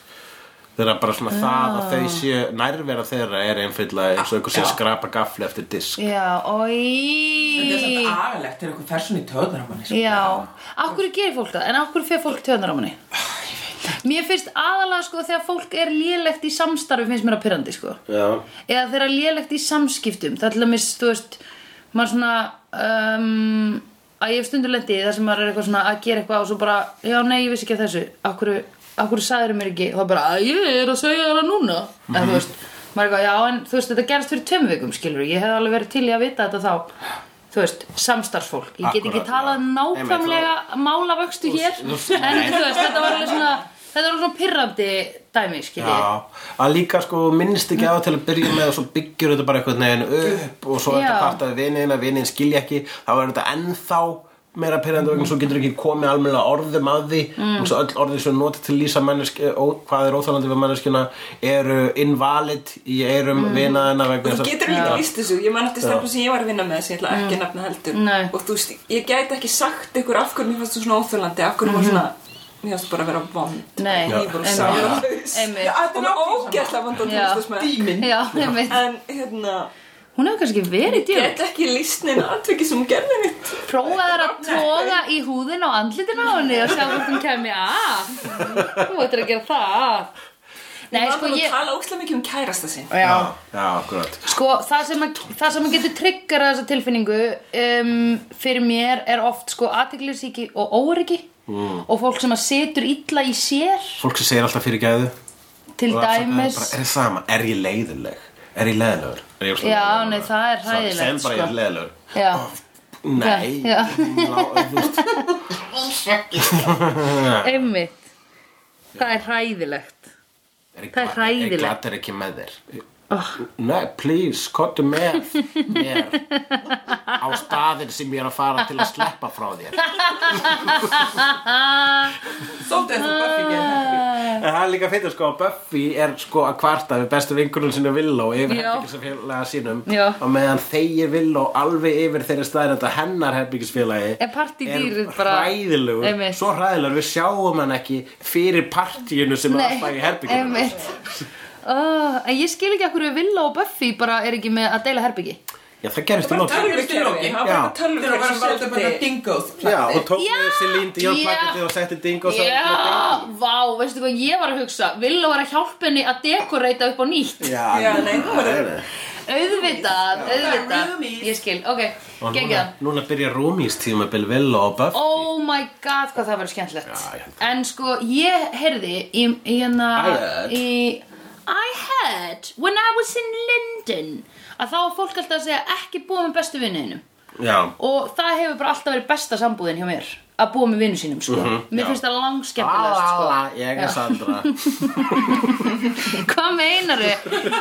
[SPEAKER 2] þeirra bara svona það að þau séu nærvera þeirra er einfyllega eins og einhver sé að
[SPEAKER 4] Já.
[SPEAKER 2] skrapa gafli eftir disk
[SPEAKER 1] já,
[SPEAKER 4] Þetta er
[SPEAKER 1] oi
[SPEAKER 4] svona agalegt til einhver fer svona í töðunar á manni. sko.
[SPEAKER 1] Já, af hverju gerir fólk það? En af hverju fer fólk tjóðnar á manni? Mér finnst aðalega sko þegar fólk er lélegt í samstarfi finnst mér að pyrrandi sko
[SPEAKER 2] Já,
[SPEAKER 1] eða þeirra lélegt í samskiptum það er til að mis, þú veist maður svona um, að ég hef stundur lendi þar sem maður er eitthvað svona að gera eitthvað og svo bara, já nei, ég vissi ekki af þessu af hverju, af hverju sagðir mér ekki og það bara, að ég er að segja þér það núna eða
[SPEAKER 2] Mhm.
[SPEAKER 1] þú veist, maður er eitthvað, já en þú veist þetta gerst fyrir tveim vikum skilur, ég hef alveg verið til í að vita þetta þá þú veist, samstarfsfólk ég get ekki
[SPEAKER 2] Akkúrat,
[SPEAKER 1] talað
[SPEAKER 2] já.
[SPEAKER 1] nákvæmlega málavöxtu hér en þú veist, þetta var alveg svona þetta var svona pyrrandi dæmi skilur ég.
[SPEAKER 2] Já, að líka sko minnst ekki á til að byrja með og svo byggjur þetta bara einhvern veginn upp og svo er
[SPEAKER 1] Já.
[SPEAKER 2] þetta part af viniðina, viniðin skilja ekki þá er þetta ennþá meira pyrrandi vegna svo getur ekki komið almennilega orðum að því
[SPEAKER 1] Mm.
[SPEAKER 2] og svo öll orðið sem notið til að lýsa mannesk, ó, hvað er óþálandi við manneskina eru invalid í eirum mm. vinaðina vegna
[SPEAKER 3] Þú
[SPEAKER 2] þess að-
[SPEAKER 3] getur
[SPEAKER 2] Já.
[SPEAKER 3] líka líst þessu, ég man eftir stelpum sem ég var að vinna með sem ég ætla ekki að nefna heldur
[SPEAKER 1] Nei.
[SPEAKER 3] og þú veist, ég gæti ekki sagt ykkur af hverju mér fannst þú svona óþjólandi, af hverju mm var svona mér finnst bara að vera vond
[SPEAKER 1] Mhm. Nei,
[SPEAKER 2] Já, sama.
[SPEAKER 1] einmitt Einmitt.
[SPEAKER 3] Já,
[SPEAKER 4] Og
[SPEAKER 3] þetta er náttúrulega
[SPEAKER 4] nákvæmlega
[SPEAKER 3] ógæslega vond að
[SPEAKER 1] Já.
[SPEAKER 3] tónlist með
[SPEAKER 4] Díminn
[SPEAKER 1] Já, einmitt
[SPEAKER 3] En hérna,
[SPEAKER 1] Hún hefur kannski verið djúl
[SPEAKER 3] get ekki líst neina atviki sem hún gerði mitt
[SPEAKER 1] Prófaðar að toga í húðin og andlitin á henni og sjá hvort hún kemur af Þú ættir að gera það Nei,
[SPEAKER 3] Ég var
[SPEAKER 1] sko
[SPEAKER 3] bara að
[SPEAKER 1] ég
[SPEAKER 3] tala ógæslega mikið um kærasta sinn
[SPEAKER 1] Já,
[SPEAKER 2] já, akkurat
[SPEAKER 1] Sko, það sem, að, það sem að getur tryggjara þessa tilfinningu um, fyrir mér er oft sko aðteglisíki og óryggi
[SPEAKER 2] Mm.
[SPEAKER 1] og fólk sem að setur illa í sér
[SPEAKER 2] Fólk sem segir alltaf fyrir gæðu
[SPEAKER 1] til
[SPEAKER 2] og afsakaði
[SPEAKER 1] dæmis
[SPEAKER 2] bara, Er það sama, er ég leiðileg? Er ég leiðilegur? Er ég óslega
[SPEAKER 1] Já,
[SPEAKER 2] leiðilegur?
[SPEAKER 1] nei, það er
[SPEAKER 2] Sorry,
[SPEAKER 1] hræðilegt,
[SPEAKER 2] Segð
[SPEAKER 1] sko.
[SPEAKER 2] bara ég er leiðilegur
[SPEAKER 1] Já,
[SPEAKER 2] Nei,
[SPEAKER 1] Já.
[SPEAKER 2] lá- þú veist
[SPEAKER 1] einmitt Það er hræðilegt
[SPEAKER 2] Er ég
[SPEAKER 1] Það er
[SPEAKER 2] gla-
[SPEAKER 1] hræðilegt. Oh.
[SPEAKER 2] Er ég glatt er ekki með þér? Nei, please, kottu með mér á staðin sem ég er að fara til að sleppa frá þér
[SPEAKER 4] Svolítið eins og Buffy
[SPEAKER 1] Ah.
[SPEAKER 4] gerir
[SPEAKER 2] En það er líka fyrir sko að Buffy er sko að kvarta við bestu vinkunum sinni Villó yfir
[SPEAKER 1] Já.
[SPEAKER 2] herbyggisfélaga sínum
[SPEAKER 1] Já.
[SPEAKER 2] og meðan þeir Villó alveg yfir þeirri staðrætt að hennar herbyggisfélagi
[SPEAKER 1] Er partydýrið bara-
[SPEAKER 2] hræðilegur,
[SPEAKER 1] Einmitt.
[SPEAKER 2] svo hræðilegur við sjáum hann ekki fyrir partíinu sem er alltaf í herbygginu
[SPEAKER 1] einmitt oh, En ég skil ekki okkur við Villa og Buffy bara er ekki með að deila herbyggi
[SPEAKER 2] Já, það gerist í lókin
[SPEAKER 3] Tölvukerfi, það var
[SPEAKER 2] Já.
[SPEAKER 4] Þeir eru
[SPEAKER 3] bara tölvukerfi
[SPEAKER 4] bara
[SPEAKER 3] sem
[SPEAKER 4] svolítið bara
[SPEAKER 3] seldi
[SPEAKER 4] dingos
[SPEAKER 2] Já, og tók
[SPEAKER 1] Já,
[SPEAKER 2] með Celine Dion
[SPEAKER 1] já.
[SPEAKER 2] plakatið og setti ding og
[SPEAKER 1] Já, vá, veistu hvað ég var að hugsa Villa var að hjálpa henni að dekoreita upp á nýtt
[SPEAKER 3] Já,
[SPEAKER 2] Já,
[SPEAKER 3] nei, hún var
[SPEAKER 2] nei
[SPEAKER 1] Auðvitað, auðvitað
[SPEAKER 4] Roomies.
[SPEAKER 1] Ég skil, ok,
[SPEAKER 2] Og núna,
[SPEAKER 1] geggjað
[SPEAKER 2] núna byrja Rúmís tímabil Villó og Buffy
[SPEAKER 1] Oh my god, hvað það verður skemmtilegt
[SPEAKER 2] Já, ég held
[SPEAKER 1] En sko, ég heyrði í, í hérna
[SPEAKER 2] I heard.
[SPEAKER 1] í, I heard when I was in London að þá var fólk alltaf að segja ekki búa með bestu vinninum
[SPEAKER 2] Já,
[SPEAKER 1] og það hefur bara alltaf verið besta sambúðin hjá mér að búa með vinnu sínum, sko Mér
[SPEAKER 2] Mhm. já.
[SPEAKER 1] finnst það langskemmtilegast, sko
[SPEAKER 2] Alla, ég
[SPEAKER 1] Já.
[SPEAKER 2] er Sandra
[SPEAKER 1] Hvað meinaru?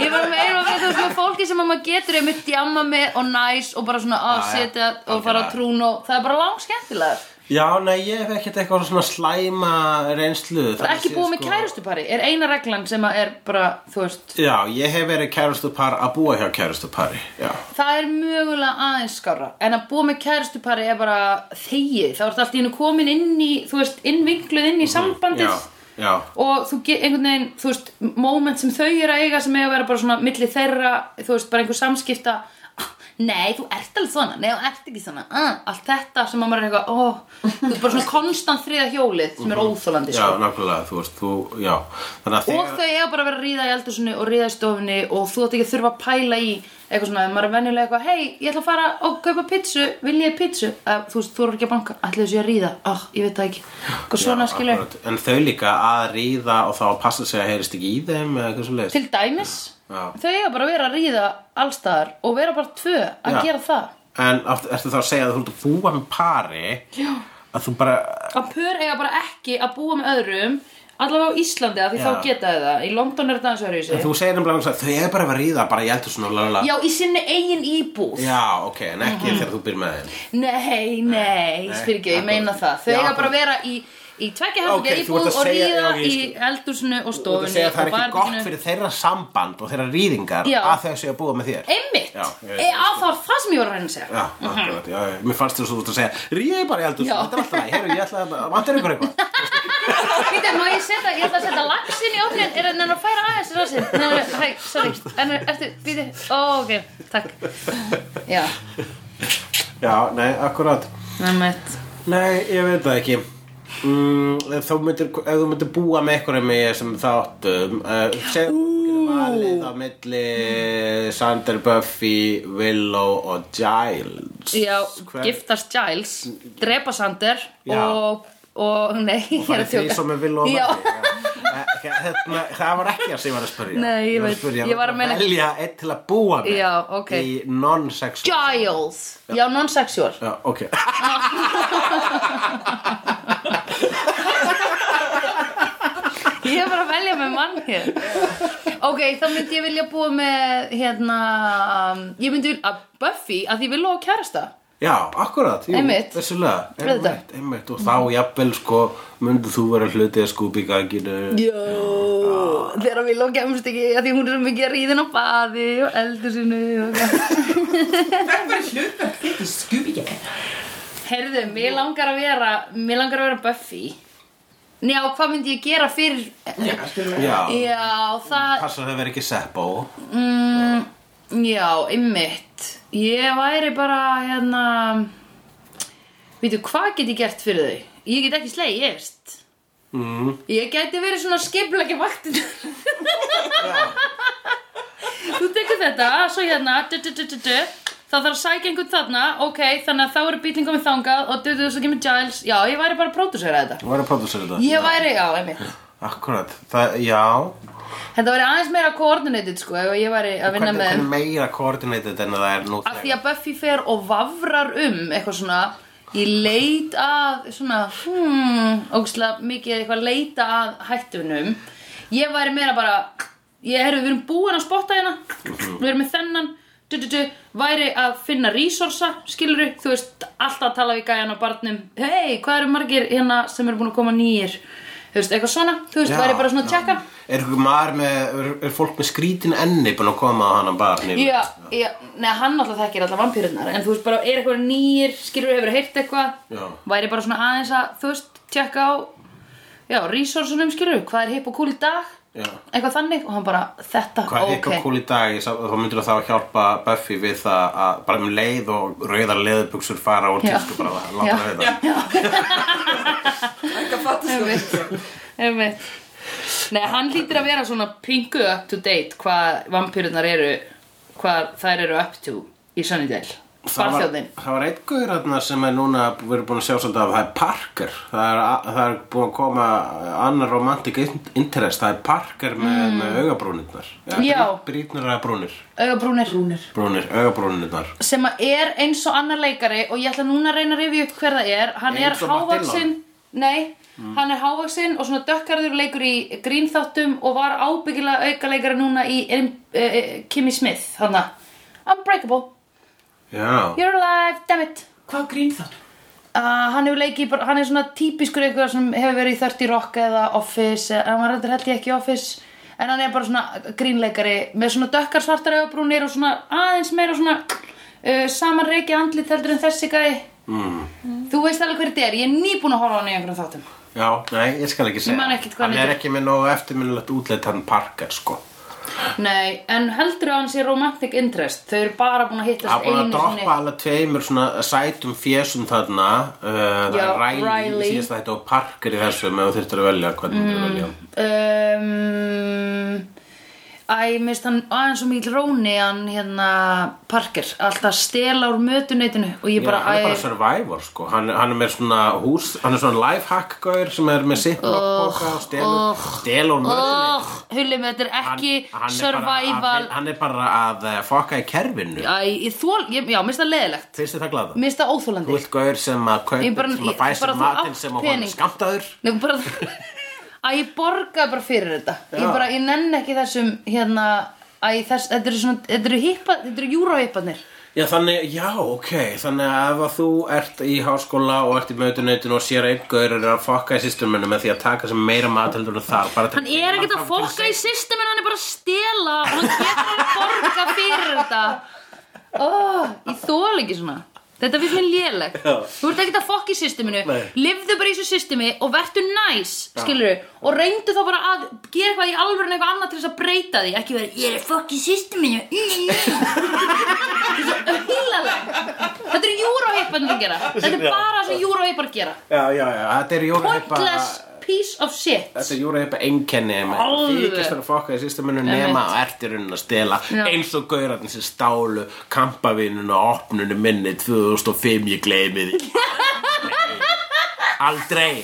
[SPEAKER 1] Ég var meira að veita þú veist, fólki sem að maður getur einmitt djamma með og næs og bara svona að
[SPEAKER 2] Já, já.
[SPEAKER 1] setja og fara á
[SPEAKER 2] Algjörlega.
[SPEAKER 1] trún og það er bara langskemmtilegast
[SPEAKER 2] Já, nei, ég hef ekkert eitthvað svona slæma reynslu
[SPEAKER 1] Það er ekki
[SPEAKER 2] sé, sko.
[SPEAKER 1] búið með kærustupari er eina reglan sem að er bara, þú veist
[SPEAKER 2] Já, ég hef verið kærustupar að búa hjá kærustupari Já,
[SPEAKER 1] Það er mögulega aðeins skára En að búið með kærustupari er bara þegið Þá ertu allt í hennu komin inn í, þú veist, innvinkluð inn í sambandið
[SPEAKER 2] Mhm, já, já
[SPEAKER 1] Og þú get einhvern veginn, þú veist, moment sem þau eru að eiga sem eiga að vera bara svona milli þeirra, þú veist, bara einhver samskipta Ah, Nei, þú ert alveg svona, nei, þú ert ekki svona uh, Allt þetta sem að maður er eitthvað, ó Þú ert bara svona konstant þriða hjólið sem er óþólandi,
[SPEAKER 2] Mhm. Já,
[SPEAKER 1] sko
[SPEAKER 2] nákvæmlega, þú veist, þú, já Þannig að
[SPEAKER 1] og þau eiga bara að vera að ríða í eldursunni og ríða í stofunni og þú átt ekki að þurfa að pæla í eitthvað svona, ef maður er venjulega eitthvað hei, ég ætla að fara og kaupa pítsu, vil ég pítsu Að, þú veist, þú eru ekki að banka, ætla þessu að ríða ah, ég veit það ekki, eitthvað svona
[SPEAKER 2] Já,
[SPEAKER 1] skilur
[SPEAKER 2] akkurat. En þau líka að ríða og þá að passa sig að heyrist ekki í þeim eða eitthvað svo leiðist
[SPEAKER 1] til dæmis,
[SPEAKER 2] Já.
[SPEAKER 1] þau eiga bara að vera að ríða allstaðar og vera bara tvö að
[SPEAKER 2] Já.
[SPEAKER 1] gera það
[SPEAKER 2] En átt- ertu þá að segja að þú ert að búa með pari Já Að þú bara,
[SPEAKER 1] að pör eiga bara ekki að búa með öðrum allavega á Íslandi að því
[SPEAKER 2] Já.
[SPEAKER 1] þá geta þau það í London er þetta aðeins verið
[SPEAKER 2] þú segir nefnilega að þau er bara að vera að ríða bara ég heldur svona lalala
[SPEAKER 1] Já, í sinni eigin íbúð
[SPEAKER 2] Já, ok, en ekki þegar þú byrð með þeim
[SPEAKER 1] Nei, nei,
[SPEAKER 2] nei,
[SPEAKER 1] spyr ekki, ég
[SPEAKER 2] akkurat.
[SPEAKER 1] meina það Þau
[SPEAKER 2] Já,
[SPEAKER 1] eiga bara
[SPEAKER 2] akkurat.
[SPEAKER 1] að vera í, í tvekja herbyggja
[SPEAKER 2] Ókei, þú
[SPEAKER 1] íbúð
[SPEAKER 2] ert að
[SPEAKER 1] og
[SPEAKER 2] segja-
[SPEAKER 1] ríða
[SPEAKER 2] já, ok, ég
[SPEAKER 1] í
[SPEAKER 2] skil.
[SPEAKER 1] eldúsinu og
[SPEAKER 2] Þú ert að
[SPEAKER 1] stofunni
[SPEAKER 2] segja að
[SPEAKER 1] og
[SPEAKER 2] það er ekki gott
[SPEAKER 1] barbekkinu.
[SPEAKER 2] fyrir þeirra samband og þeirra rýðingar
[SPEAKER 1] Já.
[SPEAKER 2] að þau séu að búa með þér
[SPEAKER 1] Einmitt,
[SPEAKER 2] Já, ég veit
[SPEAKER 1] e, á það var það sem ég var að reyna að segja
[SPEAKER 2] Já, akkurat, já, já, mér fannst þér svo út að segja Rýði bara í eldur,
[SPEAKER 1] Mhm. Já.
[SPEAKER 2] þetta er alltaf það Heyrðu, ég ætla að, vantar ykkur eitthvað
[SPEAKER 1] Býtum, má ég setja, ég ætla að setja laxin í ótrinn Er hann að færa aðeins rassin? Nei, nei, hæ, sorry, en er- ertu, býtu Ó, ok, takk Já,
[SPEAKER 2] Já, nei, akkurat
[SPEAKER 1] nemmitt
[SPEAKER 2] Nei, ég veit það ekki mm, ef, þú myndir, ef þú myndir búa með einhverjum með ég sem þáttum uh, sem þú getur valið á milli Sander Buffy, Willow og Giles
[SPEAKER 1] Já,
[SPEAKER 2] Hver-
[SPEAKER 1] giftast Giles, drepa Sander
[SPEAKER 2] Já.
[SPEAKER 1] og, og, nei, ég er
[SPEAKER 2] Bara
[SPEAKER 1] að
[SPEAKER 2] því
[SPEAKER 1] tjóka
[SPEAKER 2] sem við viljum
[SPEAKER 1] Já.
[SPEAKER 2] að hérna, Það var ekki það sem ég var að spyrja
[SPEAKER 1] Nei, ég
[SPEAKER 2] var
[SPEAKER 1] veit.
[SPEAKER 2] að spyrja,
[SPEAKER 1] Ég var að meina-
[SPEAKER 2] Velja einn til að búa með
[SPEAKER 1] Já, ok.
[SPEAKER 2] Í non-sexual
[SPEAKER 1] Giles, já, non-sexual
[SPEAKER 2] Já, ok
[SPEAKER 1] Ég er bara að velja með mann hér Ok, þá myndi ég vilja búa með hérna um, Ég myndi vilja að Buffy að því vil lofa kærasta
[SPEAKER 2] Já, akkurat, jú,
[SPEAKER 1] Einmitt.
[SPEAKER 2] vissulega
[SPEAKER 1] Auðvitað.
[SPEAKER 2] einmitt, einmitt, og þá jafnvel sko myndið þú vera hlutið að skúpi í ganginu
[SPEAKER 1] Jó, þegar vil lofa kemst ekki að því hún er svo mikið að ríðin á baði og eldur sinu
[SPEAKER 4] Það var hlutverk þitt í Scooby-Gang
[SPEAKER 1] Herðu, mér langar að vera Mér langar að vera Buffy Já, hvað myndi ég gera fyrir
[SPEAKER 4] Já, skilur við.
[SPEAKER 2] Já,
[SPEAKER 1] Já, það
[SPEAKER 2] passa að það veri ekki sepp á
[SPEAKER 1] mm, Já, ymmit Ég væri bara hérna Vítu, hvað get ég gert fyrir þau? Ég get ekki slegist
[SPEAKER 2] mm.
[SPEAKER 1] Ég gæti verið svona skipleggja vaktin Þú tekur þetta, svo hérna du, du, du, du, du. Þá þarf að sækja einhvern þarna Ok, þannig að þá eru bílinn komið þangað Og du, du, svo kemur Giles Já, ég væri bara að pródusera þetta
[SPEAKER 2] Þú væri að pródusera þetta
[SPEAKER 1] Ég væri, já, einmitt
[SPEAKER 2] Akkurat, það, já
[SPEAKER 1] Þetta væri aðeins meira coordinated, sko Ef ég væri að vinna
[SPEAKER 2] Hvernig,
[SPEAKER 1] með þeim
[SPEAKER 2] hvernig meira koordinated en það er nú
[SPEAKER 1] Af því að Buffy fer og vafrar um eitthvað svona í leit að svona hmm, ógustlega mikið eitthvað leita að hættunum ég væri meira bara ég herfi, við erum búin að spotta hérna við erum með þennan du, du, du, væri að finna resursa skilur þú veist, alltaf að tala við gæjan og barnum hei, hvað eru margir hérna sem eru búin að koma nýjir þú veist, eitthvað svona, þú veist, væri bara svona að tjekka
[SPEAKER 2] Er, einhver maður með, er, er fólk með skrítin enni búin að koma á hana barni?
[SPEAKER 1] Já, já, neða hann alltaf þekkir alltaf vampýrurnar En þú veist bara, er eitthvað nýr, skilur hefur heyrt eitthvað
[SPEAKER 2] Já.
[SPEAKER 1] Væri bara svona aðeins að, þú veist, tjekka á Já, resursunum skilur, hvað er hipp og cool í dag
[SPEAKER 2] Já.
[SPEAKER 1] Eitthvað þannig, og hann bara, þetta,
[SPEAKER 2] Hvað er
[SPEAKER 1] ok
[SPEAKER 2] eitthvað cool í dag? Ég sá- Þá myndir þá hjálpa Buffy við það að bara um leið og rauðar leðubuxur fara og
[SPEAKER 1] Já.
[SPEAKER 2] tísku bara láta
[SPEAKER 1] Já.
[SPEAKER 2] það við það.
[SPEAKER 3] Ekki að fatta
[SPEAKER 1] Einmitt, einmitt Nei, hann lítur að vera svona pingu up to date Hvað vampýrurnar eru, hvað þær eru up to í Sunnydale
[SPEAKER 2] Það var,
[SPEAKER 1] Barþjóðin
[SPEAKER 2] það var einn guður þarna sem er núna við erum búin að sjá svolítið af, það er Parker það er, það er búin að koma annar romantic interest, það er Parker með, með augabrúnirnar
[SPEAKER 1] Mm. Já.
[SPEAKER 2] brýtnar eða brúnir
[SPEAKER 1] Augabrúnir
[SPEAKER 4] Brúnir.
[SPEAKER 2] Brúnir, augabrúnirnar
[SPEAKER 1] sem að er eins og annar leikari og ég ætla núna að reyna að rifja upp hver það er hann er
[SPEAKER 2] Eins og Matt Mm.
[SPEAKER 1] hávaxinn nei, hann er hávaxinn og svona dökkarður leikur í grínþáttum og var ábyggilega auka leikari núna í um, uh, Kimmy Smith hana. Unbreakable,
[SPEAKER 2] Já,
[SPEAKER 1] you're alive, damn it
[SPEAKER 4] Hvað grín það?
[SPEAKER 1] Uh, hann hefur leikið, í bara- hann er svona típiskur einhver sem hefur verið í 30 Rock eða Office, en hann var reyndar held ég ekki í Office en hann er bara svona grínleikari með svona dökkar svartar augabrúnir og svona aðeins meira svona uh, saman reiki andlit heldur en þessi gæði mm. þú veist alveg hver þetta er, ég er nýbúin að horfa á hann í einhverjum þáttum
[SPEAKER 2] já, nei, ég skal ekki segja
[SPEAKER 1] man ekkert hvað
[SPEAKER 2] Hann
[SPEAKER 1] hann
[SPEAKER 2] er
[SPEAKER 1] heitir.
[SPEAKER 2] ekki með nógu eftirminnilegt útleitt hann Parker, sko
[SPEAKER 1] nei, en heldur að hann sé romantic interest þau eru bara búin að hittast
[SPEAKER 2] Hann er búin að
[SPEAKER 1] einu
[SPEAKER 2] droppa
[SPEAKER 1] sinni
[SPEAKER 2] alveg tveimur svona sætum fjesum þarna uh, Það
[SPEAKER 1] Já,
[SPEAKER 2] er Riley,
[SPEAKER 1] Riley.
[SPEAKER 2] í síðast þetta og Parker í þessu með þú þurftir að velja hvernig mm. þú velja
[SPEAKER 1] um, Æ, mist hann aðeins og mikil róni hann hérna Parker alltaf stela úr mötuneytinu og ég
[SPEAKER 2] Já,
[SPEAKER 1] bara,
[SPEAKER 2] hann er bara
[SPEAKER 1] æ,
[SPEAKER 2] survivor, sko hann, hann er með svona hús, hann er svona lifehack-gaur sem er með ziplock-boka og stelur, oh, stelur mötunni
[SPEAKER 1] oh, hulli með þetta er ekki survival
[SPEAKER 2] Hann er bara að eh, fokka í kerfinu
[SPEAKER 1] Æ, ég þól, ég, já, mist það leðilegt
[SPEAKER 2] Finnst þér það glada?
[SPEAKER 1] mist það
[SPEAKER 2] Þú
[SPEAKER 1] óþólandi
[SPEAKER 2] vilt gaur sem að
[SPEAKER 1] Ég
[SPEAKER 2] kaupa
[SPEAKER 1] bara-
[SPEAKER 2] sem að
[SPEAKER 1] ég-
[SPEAKER 2] fæ sér
[SPEAKER 1] bara þú
[SPEAKER 2] matinn
[SPEAKER 1] átt
[SPEAKER 2] sem að honum
[SPEAKER 1] pening.
[SPEAKER 2] skamtaður
[SPEAKER 1] Nei, bara, Æ, ég borgaði bara fyrir þetta ég
[SPEAKER 2] Já.
[SPEAKER 1] bara, ég nenn ekki þessum hérna, æ, þess, þetta eru svona þetta eru hippa, þetta eru júróhippanir
[SPEAKER 2] Já þannig, já ok Þannig að ef að þú ert í háskóla og ert í mötunautin og sér einn gaur er að fokka í sýsturmennu með því að taka sem meira matildur en þar bara til-
[SPEAKER 1] Hann er ekkert að fokka í systemin, hann er bara að stela og hann getur að borga fyrir þetta. Ó, ég þól ekki svona. Þetta finnst mér léleg. Þú ert ekkert að fokka í systeminu,
[SPEAKER 2] Nei.
[SPEAKER 1] lifðu bara í þessu systemi og vertu næs, skilur og reyndu þá bara að gera eitthvað í alvöru en eitthvað annað til þess að breyta því, ekki verið, ég er að fokka í systeminu. Hílaleg. Þetta eru júróhipparnir að gera. Þetta er bara það sem júróhippar gera.
[SPEAKER 2] Já, já, já, þetta er júraheipa
[SPEAKER 1] Pointless piece of shit.
[SPEAKER 2] Þetta er júraheipa einkenni
[SPEAKER 1] Alveg.
[SPEAKER 2] Þykist þar að fokka í sýsturmennu nema að ert í raunin að stela
[SPEAKER 1] Já.
[SPEAKER 2] eins og gaurarnir sem stálu kampavinun og opnunni minni 2005 ég gleymi því Aldrei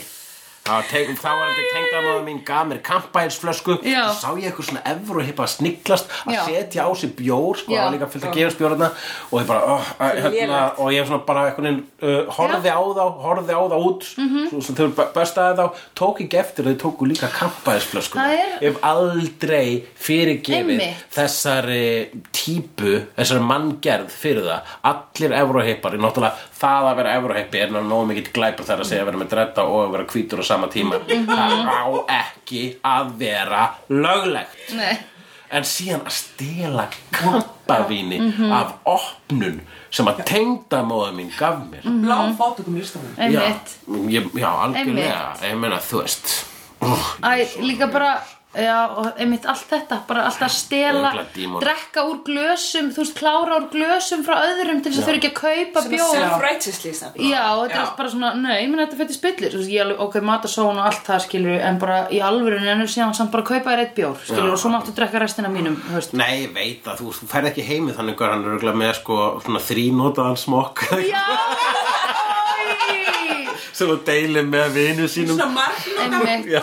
[SPEAKER 2] Þá, teg, þá var þetta tengdamáða mín gaf mér kampæðisflösku
[SPEAKER 1] Já.
[SPEAKER 2] þá sá ég eitthvað svona evru hippa að sniglast að
[SPEAKER 1] Já.
[SPEAKER 2] setja á sig bjór sko,
[SPEAKER 1] Já.
[SPEAKER 2] það var líka fyllt að gefa spjórna og ég bara, oh, að, hérna,
[SPEAKER 3] lélegt.
[SPEAKER 2] og ég svona bara einhvern veginn, uh, horfði á þá horfði á þá út, mm
[SPEAKER 1] Mhm.
[SPEAKER 2] -hmm. svo, svo þau bestaði þá, tók ekki eftir að þau tóku líka kampæðisflösku
[SPEAKER 1] Það er-
[SPEAKER 2] ég hef aldrei fyrirgefið
[SPEAKER 1] Einmitt.
[SPEAKER 2] þessari típu þessari manngerð fyrir það allir evróheipar, náttúrulega það að vera evróheipi er náttúrulega mikill glæpur þar að segja að vera með dretta og að vera
[SPEAKER 1] Mhm.
[SPEAKER 2] hvítur á sama tíma það á ekki að vera löglegt
[SPEAKER 1] Nei.
[SPEAKER 2] en síðan að stela kampavíni af opnun sem að tengdamóða mín gaf mér
[SPEAKER 1] Mhm.
[SPEAKER 4] blá fátökum listamann
[SPEAKER 1] einmitt
[SPEAKER 2] já, ég, já, algjörlega
[SPEAKER 1] Einmitt.
[SPEAKER 2] ég meina þú veist oh,
[SPEAKER 1] Æ, líka bara Já, og einmitt allt þetta, bara allt að stela
[SPEAKER 2] Örugglega dímon.
[SPEAKER 1] drekka úr glösum þú veist, klára úr glösum frá öðrum til þess að þau ekki að kaupa bjór
[SPEAKER 4] self-
[SPEAKER 3] Self-righteously samt.
[SPEAKER 1] Já, þetta er
[SPEAKER 4] Já.
[SPEAKER 1] allt bara svona, nei, ég meina þetta fyrir spillir Þú veist, ég alveg, ok, matasón og allt það skilur en bara í alvörinu ennur síðan samt bara kaupa þér eitt bjór skilur
[SPEAKER 2] Já.
[SPEAKER 1] og svo máttu drekka restina mínum þú veist.
[SPEAKER 2] Nei, ég veit að þú, þú færð ekki heimi þannig að hann er örugglega með sko svona þrínótaðan smokk
[SPEAKER 1] Já, oi
[SPEAKER 2] sem þú deilir með vinu sínum
[SPEAKER 4] svona margna
[SPEAKER 1] Einmitt.
[SPEAKER 2] Já.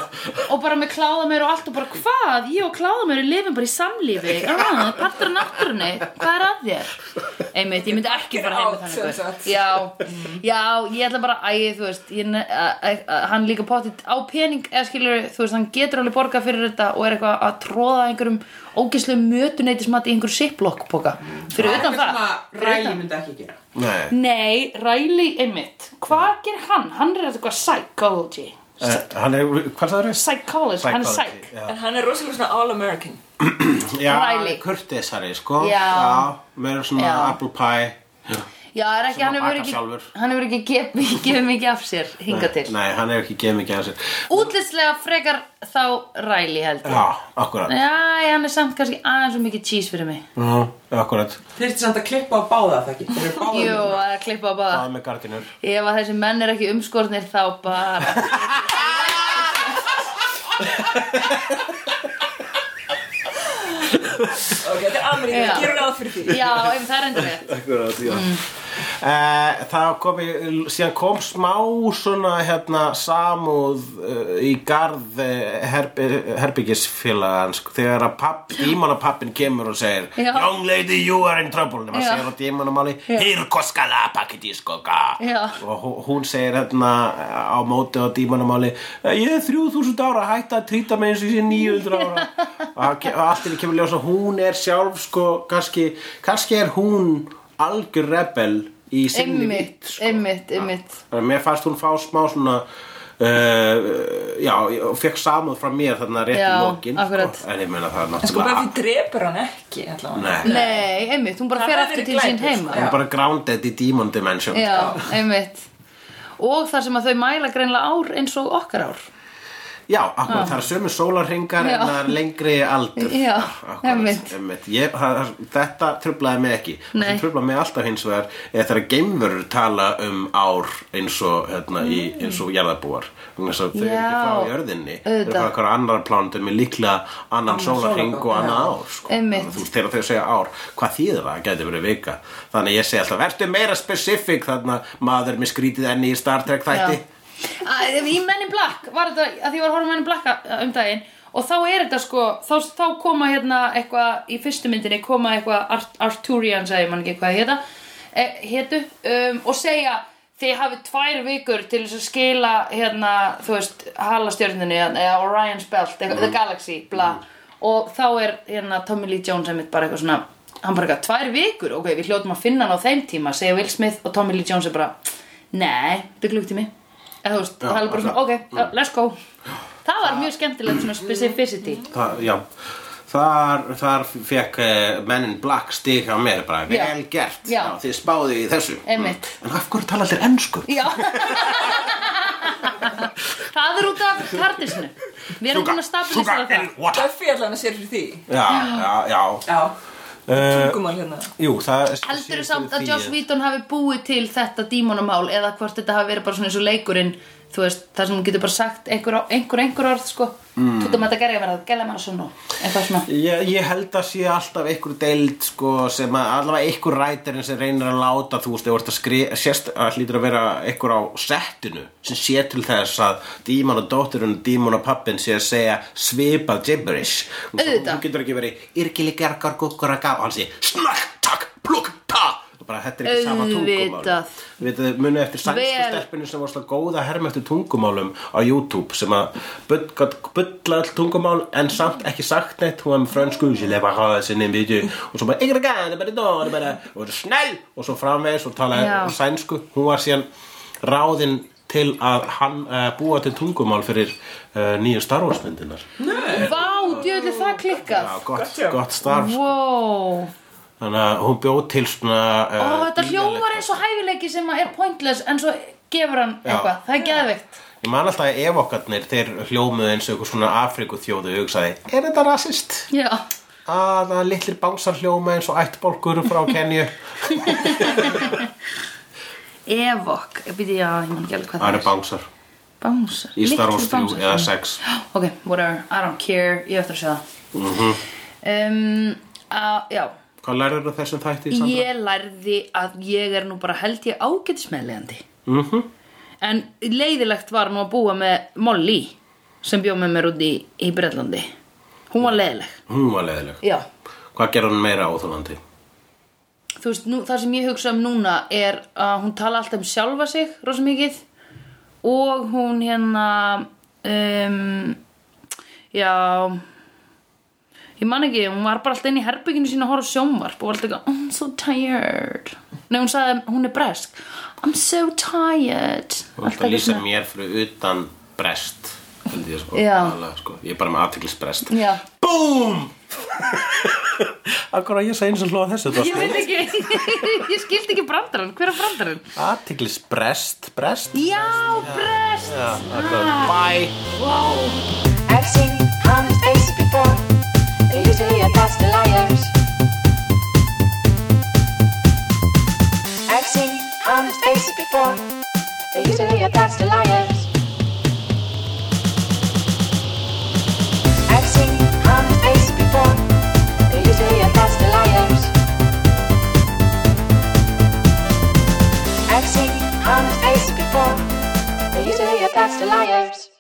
[SPEAKER 1] og bara með kláða mér og allt og bara hvað, ég og kláða mér lifum bara í samlífi já, það er partur af náttúrunni, hvað er að þér einmitt, ég myndi ekki fara heim með
[SPEAKER 3] Get out,
[SPEAKER 1] þannig
[SPEAKER 3] sem
[SPEAKER 1] gaur.
[SPEAKER 3] sagt.
[SPEAKER 1] já, já, ég ætla bara æ, þú veist, ég, ne- a, a, a, hann líka potið á pening, eða skilur þú veist, hann getur alveg borgað fyrir þetta og er eitthvað að tróða einhverjum ógislu mötuneytismat í einhverjum siplokkpoka fyrir utan það fyrir
[SPEAKER 4] ræði
[SPEAKER 1] utan-
[SPEAKER 4] myndi ekki gera
[SPEAKER 2] Nei,
[SPEAKER 1] nei, Riley, einmitt hvað ger hann, hann er eitthvað psychology
[SPEAKER 2] uh, hann er, hvað það eru?
[SPEAKER 1] psychologist, hann er
[SPEAKER 2] Psychology,
[SPEAKER 1] psych
[SPEAKER 2] já.
[SPEAKER 3] En hann er rosalega svona all-American.
[SPEAKER 2] Já,
[SPEAKER 1] Riley.
[SPEAKER 2] kurtisari, sko
[SPEAKER 1] Já.
[SPEAKER 2] meira svona
[SPEAKER 1] Já.
[SPEAKER 2] apple pie Já.
[SPEAKER 1] Já, er ekki,
[SPEAKER 2] Sem
[SPEAKER 1] hann
[SPEAKER 2] að
[SPEAKER 1] hefur
[SPEAKER 2] baka
[SPEAKER 1] ekki,
[SPEAKER 2] sjálfur.
[SPEAKER 1] hann hefur ekki gef, gefið mikið af sér hinga til
[SPEAKER 2] Nei, hann er ekki gefið mikið af sér
[SPEAKER 1] Útlitslega frekar þá ræli heldur
[SPEAKER 2] Já, akkurat
[SPEAKER 1] Já, hann er samt kannski aðeins og mikið cheese fyrir mig
[SPEAKER 2] Já, akkurat
[SPEAKER 4] þurfti samt að klippa á báða það ekki þeir eru báða
[SPEAKER 1] Jú, að klippa á báða
[SPEAKER 2] Það með gardinur
[SPEAKER 1] Ef að þessi menn er ekki umskornir þá bara
[SPEAKER 3] Ok, þetta er Ameríkan,
[SPEAKER 1] Já.
[SPEAKER 3] ég gerur ráð fyrir því.
[SPEAKER 1] Já, ef það er endur rétt
[SPEAKER 2] Akkurat, já mm. Eh, Það kom, í- síðan kom smá svona hérna samúð uh, í garð eh, herb, herbyggisfélagans þegar að papp, dímanapappin kemur og segir
[SPEAKER 1] Já.
[SPEAKER 2] Young lady, you are in trouble nema
[SPEAKER 1] Já.
[SPEAKER 2] segir á dímanamáli Hýr koskala pakiti skoka
[SPEAKER 1] Já.
[SPEAKER 2] og hú- hún segir hérna á móti á dímanamáli ég er 3000 ára hætt að trýta mig eins og ég sé 900 ára og hann ke- og allt í einu kemur ljósa hún er sjálf sko kannski, kannski er hún algjör rebel í sinni
[SPEAKER 1] Einmitt,
[SPEAKER 2] vitt sko.
[SPEAKER 1] einmitt, einmitt
[SPEAKER 2] Þannig að mér fannst hún fá smá svona Uh, já, og fekk samúð frá mér þarna rétt
[SPEAKER 1] Já,
[SPEAKER 2] í lokin
[SPEAKER 1] akkurat.
[SPEAKER 2] sko. en ég meina það er
[SPEAKER 3] En sko,
[SPEAKER 2] náttúrulega
[SPEAKER 3] Buffy drepur hann ekki, allavega.
[SPEAKER 2] Nei,
[SPEAKER 1] Nei, einmitt, hún bara
[SPEAKER 3] Það
[SPEAKER 1] fer
[SPEAKER 3] hefði
[SPEAKER 1] aftur
[SPEAKER 3] verið
[SPEAKER 1] til sín
[SPEAKER 3] glæpur,
[SPEAKER 1] heima
[SPEAKER 2] hún er bara grounded í sko. demon dimension
[SPEAKER 1] Já, einmitt Og þar sem að þau mæla greinlega ár eins og okkar ár
[SPEAKER 2] Já, akkurat, það er sömu sólarringar
[SPEAKER 1] Já.
[SPEAKER 2] en það er lengri aldur
[SPEAKER 1] Já,
[SPEAKER 2] Akkúrat,
[SPEAKER 1] einmitt.
[SPEAKER 2] einmitt. Ég, það, Þetta trublaði mig ekki
[SPEAKER 1] Nei.
[SPEAKER 2] Það trublaði mig alltaf hins vegar eða þegar geimverur tala um ár eins og, hérna, í, eins og jarðabúar Þannig að þau eru ekki
[SPEAKER 1] Já,
[SPEAKER 2] frá jörðinni Þau eru
[SPEAKER 1] auðvitað.
[SPEAKER 2] frá eitthvað annar plánundum með líklega annan sólarring
[SPEAKER 4] sólarhring,
[SPEAKER 2] og annað
[SPEAKER 4] já.
[SPEAKER 2] ár sko.
[SPEAKER 1] Einmitt.
[SPEAKER 2] Þú veist, þegar þau segja ár, hvað þýðir það? Gæti verið vika Þannig að ég segi alltaf, vertu meira specific þarna maður með skrítið enni í Star Trek þætti
[SPEAKER 1] Æ, Í mennin blakk var þetta, að því ég var að horfa mennin blakk um daginn og þá er þetta sko, þá, þá koma hérna eitthvað, í fyrstu myndinni koma eitthvað Art Arturian, sagði mann ekki hvað hérna e, hétu, um, og segja þið hafið tvær vikur til þess að skila hérna, þú veist, halastjörninni eða Orion's Belt, eitthvað, The Galaxy bla, og þá er hérna Tommy Lee Jones einmitt bara eitthvað svona hann bara eitthvað, tvær vikur, ok, við hljótum að finna hann á þeim tíma, segja Will Smith og Tommy Lee Jones er bara, nei, þetta er glugtími eða þú veist,
[SPEAKER 2] Já,
[SPEAKER 1] það er bara svona, ok, já, let's go það var mjög skemmtilegt svona specificity
[SPEAKER 2] það, já Þar, þar fekk uh, mennin Black stig hjá mér bara,
[SPEAKER 1] Já.
[SPEAKER 2] vel gert
[SPEAKER 1] Já.
[SPEAKER 2] þið spáðu í þessu
[SPEAKER 1] Einmitt.
[SPEAKER 2] Mm. en af hverju tala allir ennsku?
[SPEAKER 1] já það er út af kardisnu við erum búin að stabilisa
[SPEAKER 2] sugar
[SPEAKER 1] það
[SPEAKER 2] and water
[SPEAKER 3] Buffy allavega sér fyrir því.
[SPEAKER 2] já, já, já
[SPEAKER 4] já
[SPEAKER 2] uh,
[SPEAKER 3] Tungumál hérna.
[SPEAKER 2] jú, það
[SPEAKER 1] heldur þú samt
[SPEAKER 2] eh.
[SPEAKER 1] að Joss Whedon hafi búið til þetta dímonamál eða hvort þetta hafi verið bara svona eins og leikurinn þú veist, þar sem hún getur bara sagt einhver, einhver, einhver orð sko, mm. tutum að þetta gerja verða gæla mann svona, eitthvað svona
[SPEAKER 2] Ég, ég held að sé alltaf einhver deild sko, sem að allavega einhver rætirinn sem reynir að láta þú veist, þú ert að skrifa sérst að hlýtur að vera einhver á settinu sem sé til þess að díman og dóttirinn og díman og pappin sé að segja svipað gibberish Þú veist,
[SPEAKER 1] Auðvitað.
[SPEAKER 2] þú getur ekki verið yrkili gergar guggur að gá hann sé snakk, takk, plukk, ta Og bara, þetta er ekki sama tungumál
[SPEAKER 1] Auðvitað.
[SPEAKER 2] Við munið eftir sænsku
[SPEAKER 1] Vel.
[SPEAKER 2] stelpunni sem var slá góða að herma eftir tungumálum á YouTube sem að bull- gat bulla all tungumál en samt ekki sagt neitt hún var með frönsku ég lefa að hafa þessi nefn vídeo og svo bara yngra gæði, bara dóri, bara og það er snell og svo framvegis og talaði
[SPEAKER 1] Já.
[SPEAKER 2] sænsku hún var síðan ráðin til eh, að hann uh, búa til tungumál fyrir uh, nýju starfarsmyndinar
[SPEAKER 1] Vá, djöfull djöðli það klikkað
[SPEAKER 2] Já, gott,
[SPEAKER 3] Gott, já.
[SPEAKER 2] gott
[SPEAKER 1] Mhm.
[SPEAKER 2] starf
[SPEAKER 1] Wow
[SPEAKER 2] Þannig að hún bjóð til svona
[SPEAKER 1] Ó,
[SPEAKER 2] uh,
[SPEAKER 1] þetta hljómar
[SPEAKER 2] íleika.
[SPEAKER 1] eins og hæfileiki sem að er pointless en svo gefur hann
[SPEAKER 2] Já.
[SPEAKER 1] eitthvað, það er geðveikt
[SPEAKER 2] Ég man alltaf að ef okkarnir þeir hljómuðu eins og ykkur svona Afrikuþjóðu hugsaði Er þetta rasist?
[SPEAKER 1] Já,
[SPEAKER 2] Að það litlir bánsar hljóma eins og ættbólkur frá Kenju
[SPEAKER 1] evok, býti já, ég man ekki alveg hvað það
[SPEAKER 2] Það eru
[SPEAKER 1] er
[SPEAKER 2] bánsar
[SPEAKER 1] Bánsar,
[SPEAKER 2] Í Star Wars
[SPEAKER 1] Litlu
[SPEAKER 2] 3
[SPEAKER 1] bánsar.
[SPEAKER 2] eða 6
[SPEAKER 1] Ok, whatever, I don't care, ég á eftir að sjá
[SPEAKER 2] Mhm.
[SPEAKER 1] það um, að, Já,
[SPEAKER 2] Hvað lærður þú þessum þætti, Sandra?
[SPEAKER 1] ég lærði að ég er nú bara held ég ágætismeðlegandi mm
[SPEAKER 2] Mhm.
[SPEAKER 1] -hmm. en leiðilegt var nú að búa með Molly sem bjó með mér út í, í Bretlandi hún var leiðileg
[SPEAKER 2] Hún var leðileg
[SPEAKER 1] já,
[SPEAKER 2] Hvað gerði hún meira óþólandi?
[SPEAKER 1] þú veist, nú, það sem ég hugsa um núna er að hún tala alltaf um sjálfa sig rosa mikið og hún hérna um, já ég man ekki, hún var bara alltaf inn í herbygginu sína að horfa á sjónvarp og var alltaf eitthvað, I'm so tired nei, hún sagði, hún er bresk I'm so tired
[SPEAKER 2] Þú ert
[SPEAKER 1] Alltaf
[SPEAKER 2] að lýsa
[SPEAKER 1] eitthvað svona.
[SPEAKER 2] mér fyrir utan brest held ég sko,
[SPEAKER 1] Já.
[SPEAKER 2] aðalega, sko. Ég er bara með aðtiklisbrest
[SPEAKER 1] já,
[SPEAKER 2] BOOM Akkur að ég segi eins og hlóða þessu
[SPEAKER 1] ég veit ekki ég skildi ekki brandarann, hver er brandarann?
[SPEAKER 2] Aðtiklisbrest, brest
[SPEAKER 1] já, Ah. brest
[SPEAKER 2] Já, akkur, bye
[SPEAKER 1] wow
[SPEAKER 5] I've seen honest faces before. They're usually a pass to liars. I've seen honest faces before. They're usually a pass to liars. I've seen honest faces before. They're usually a pass to liars. I've seen honest faces before. They're usually a pass to liars.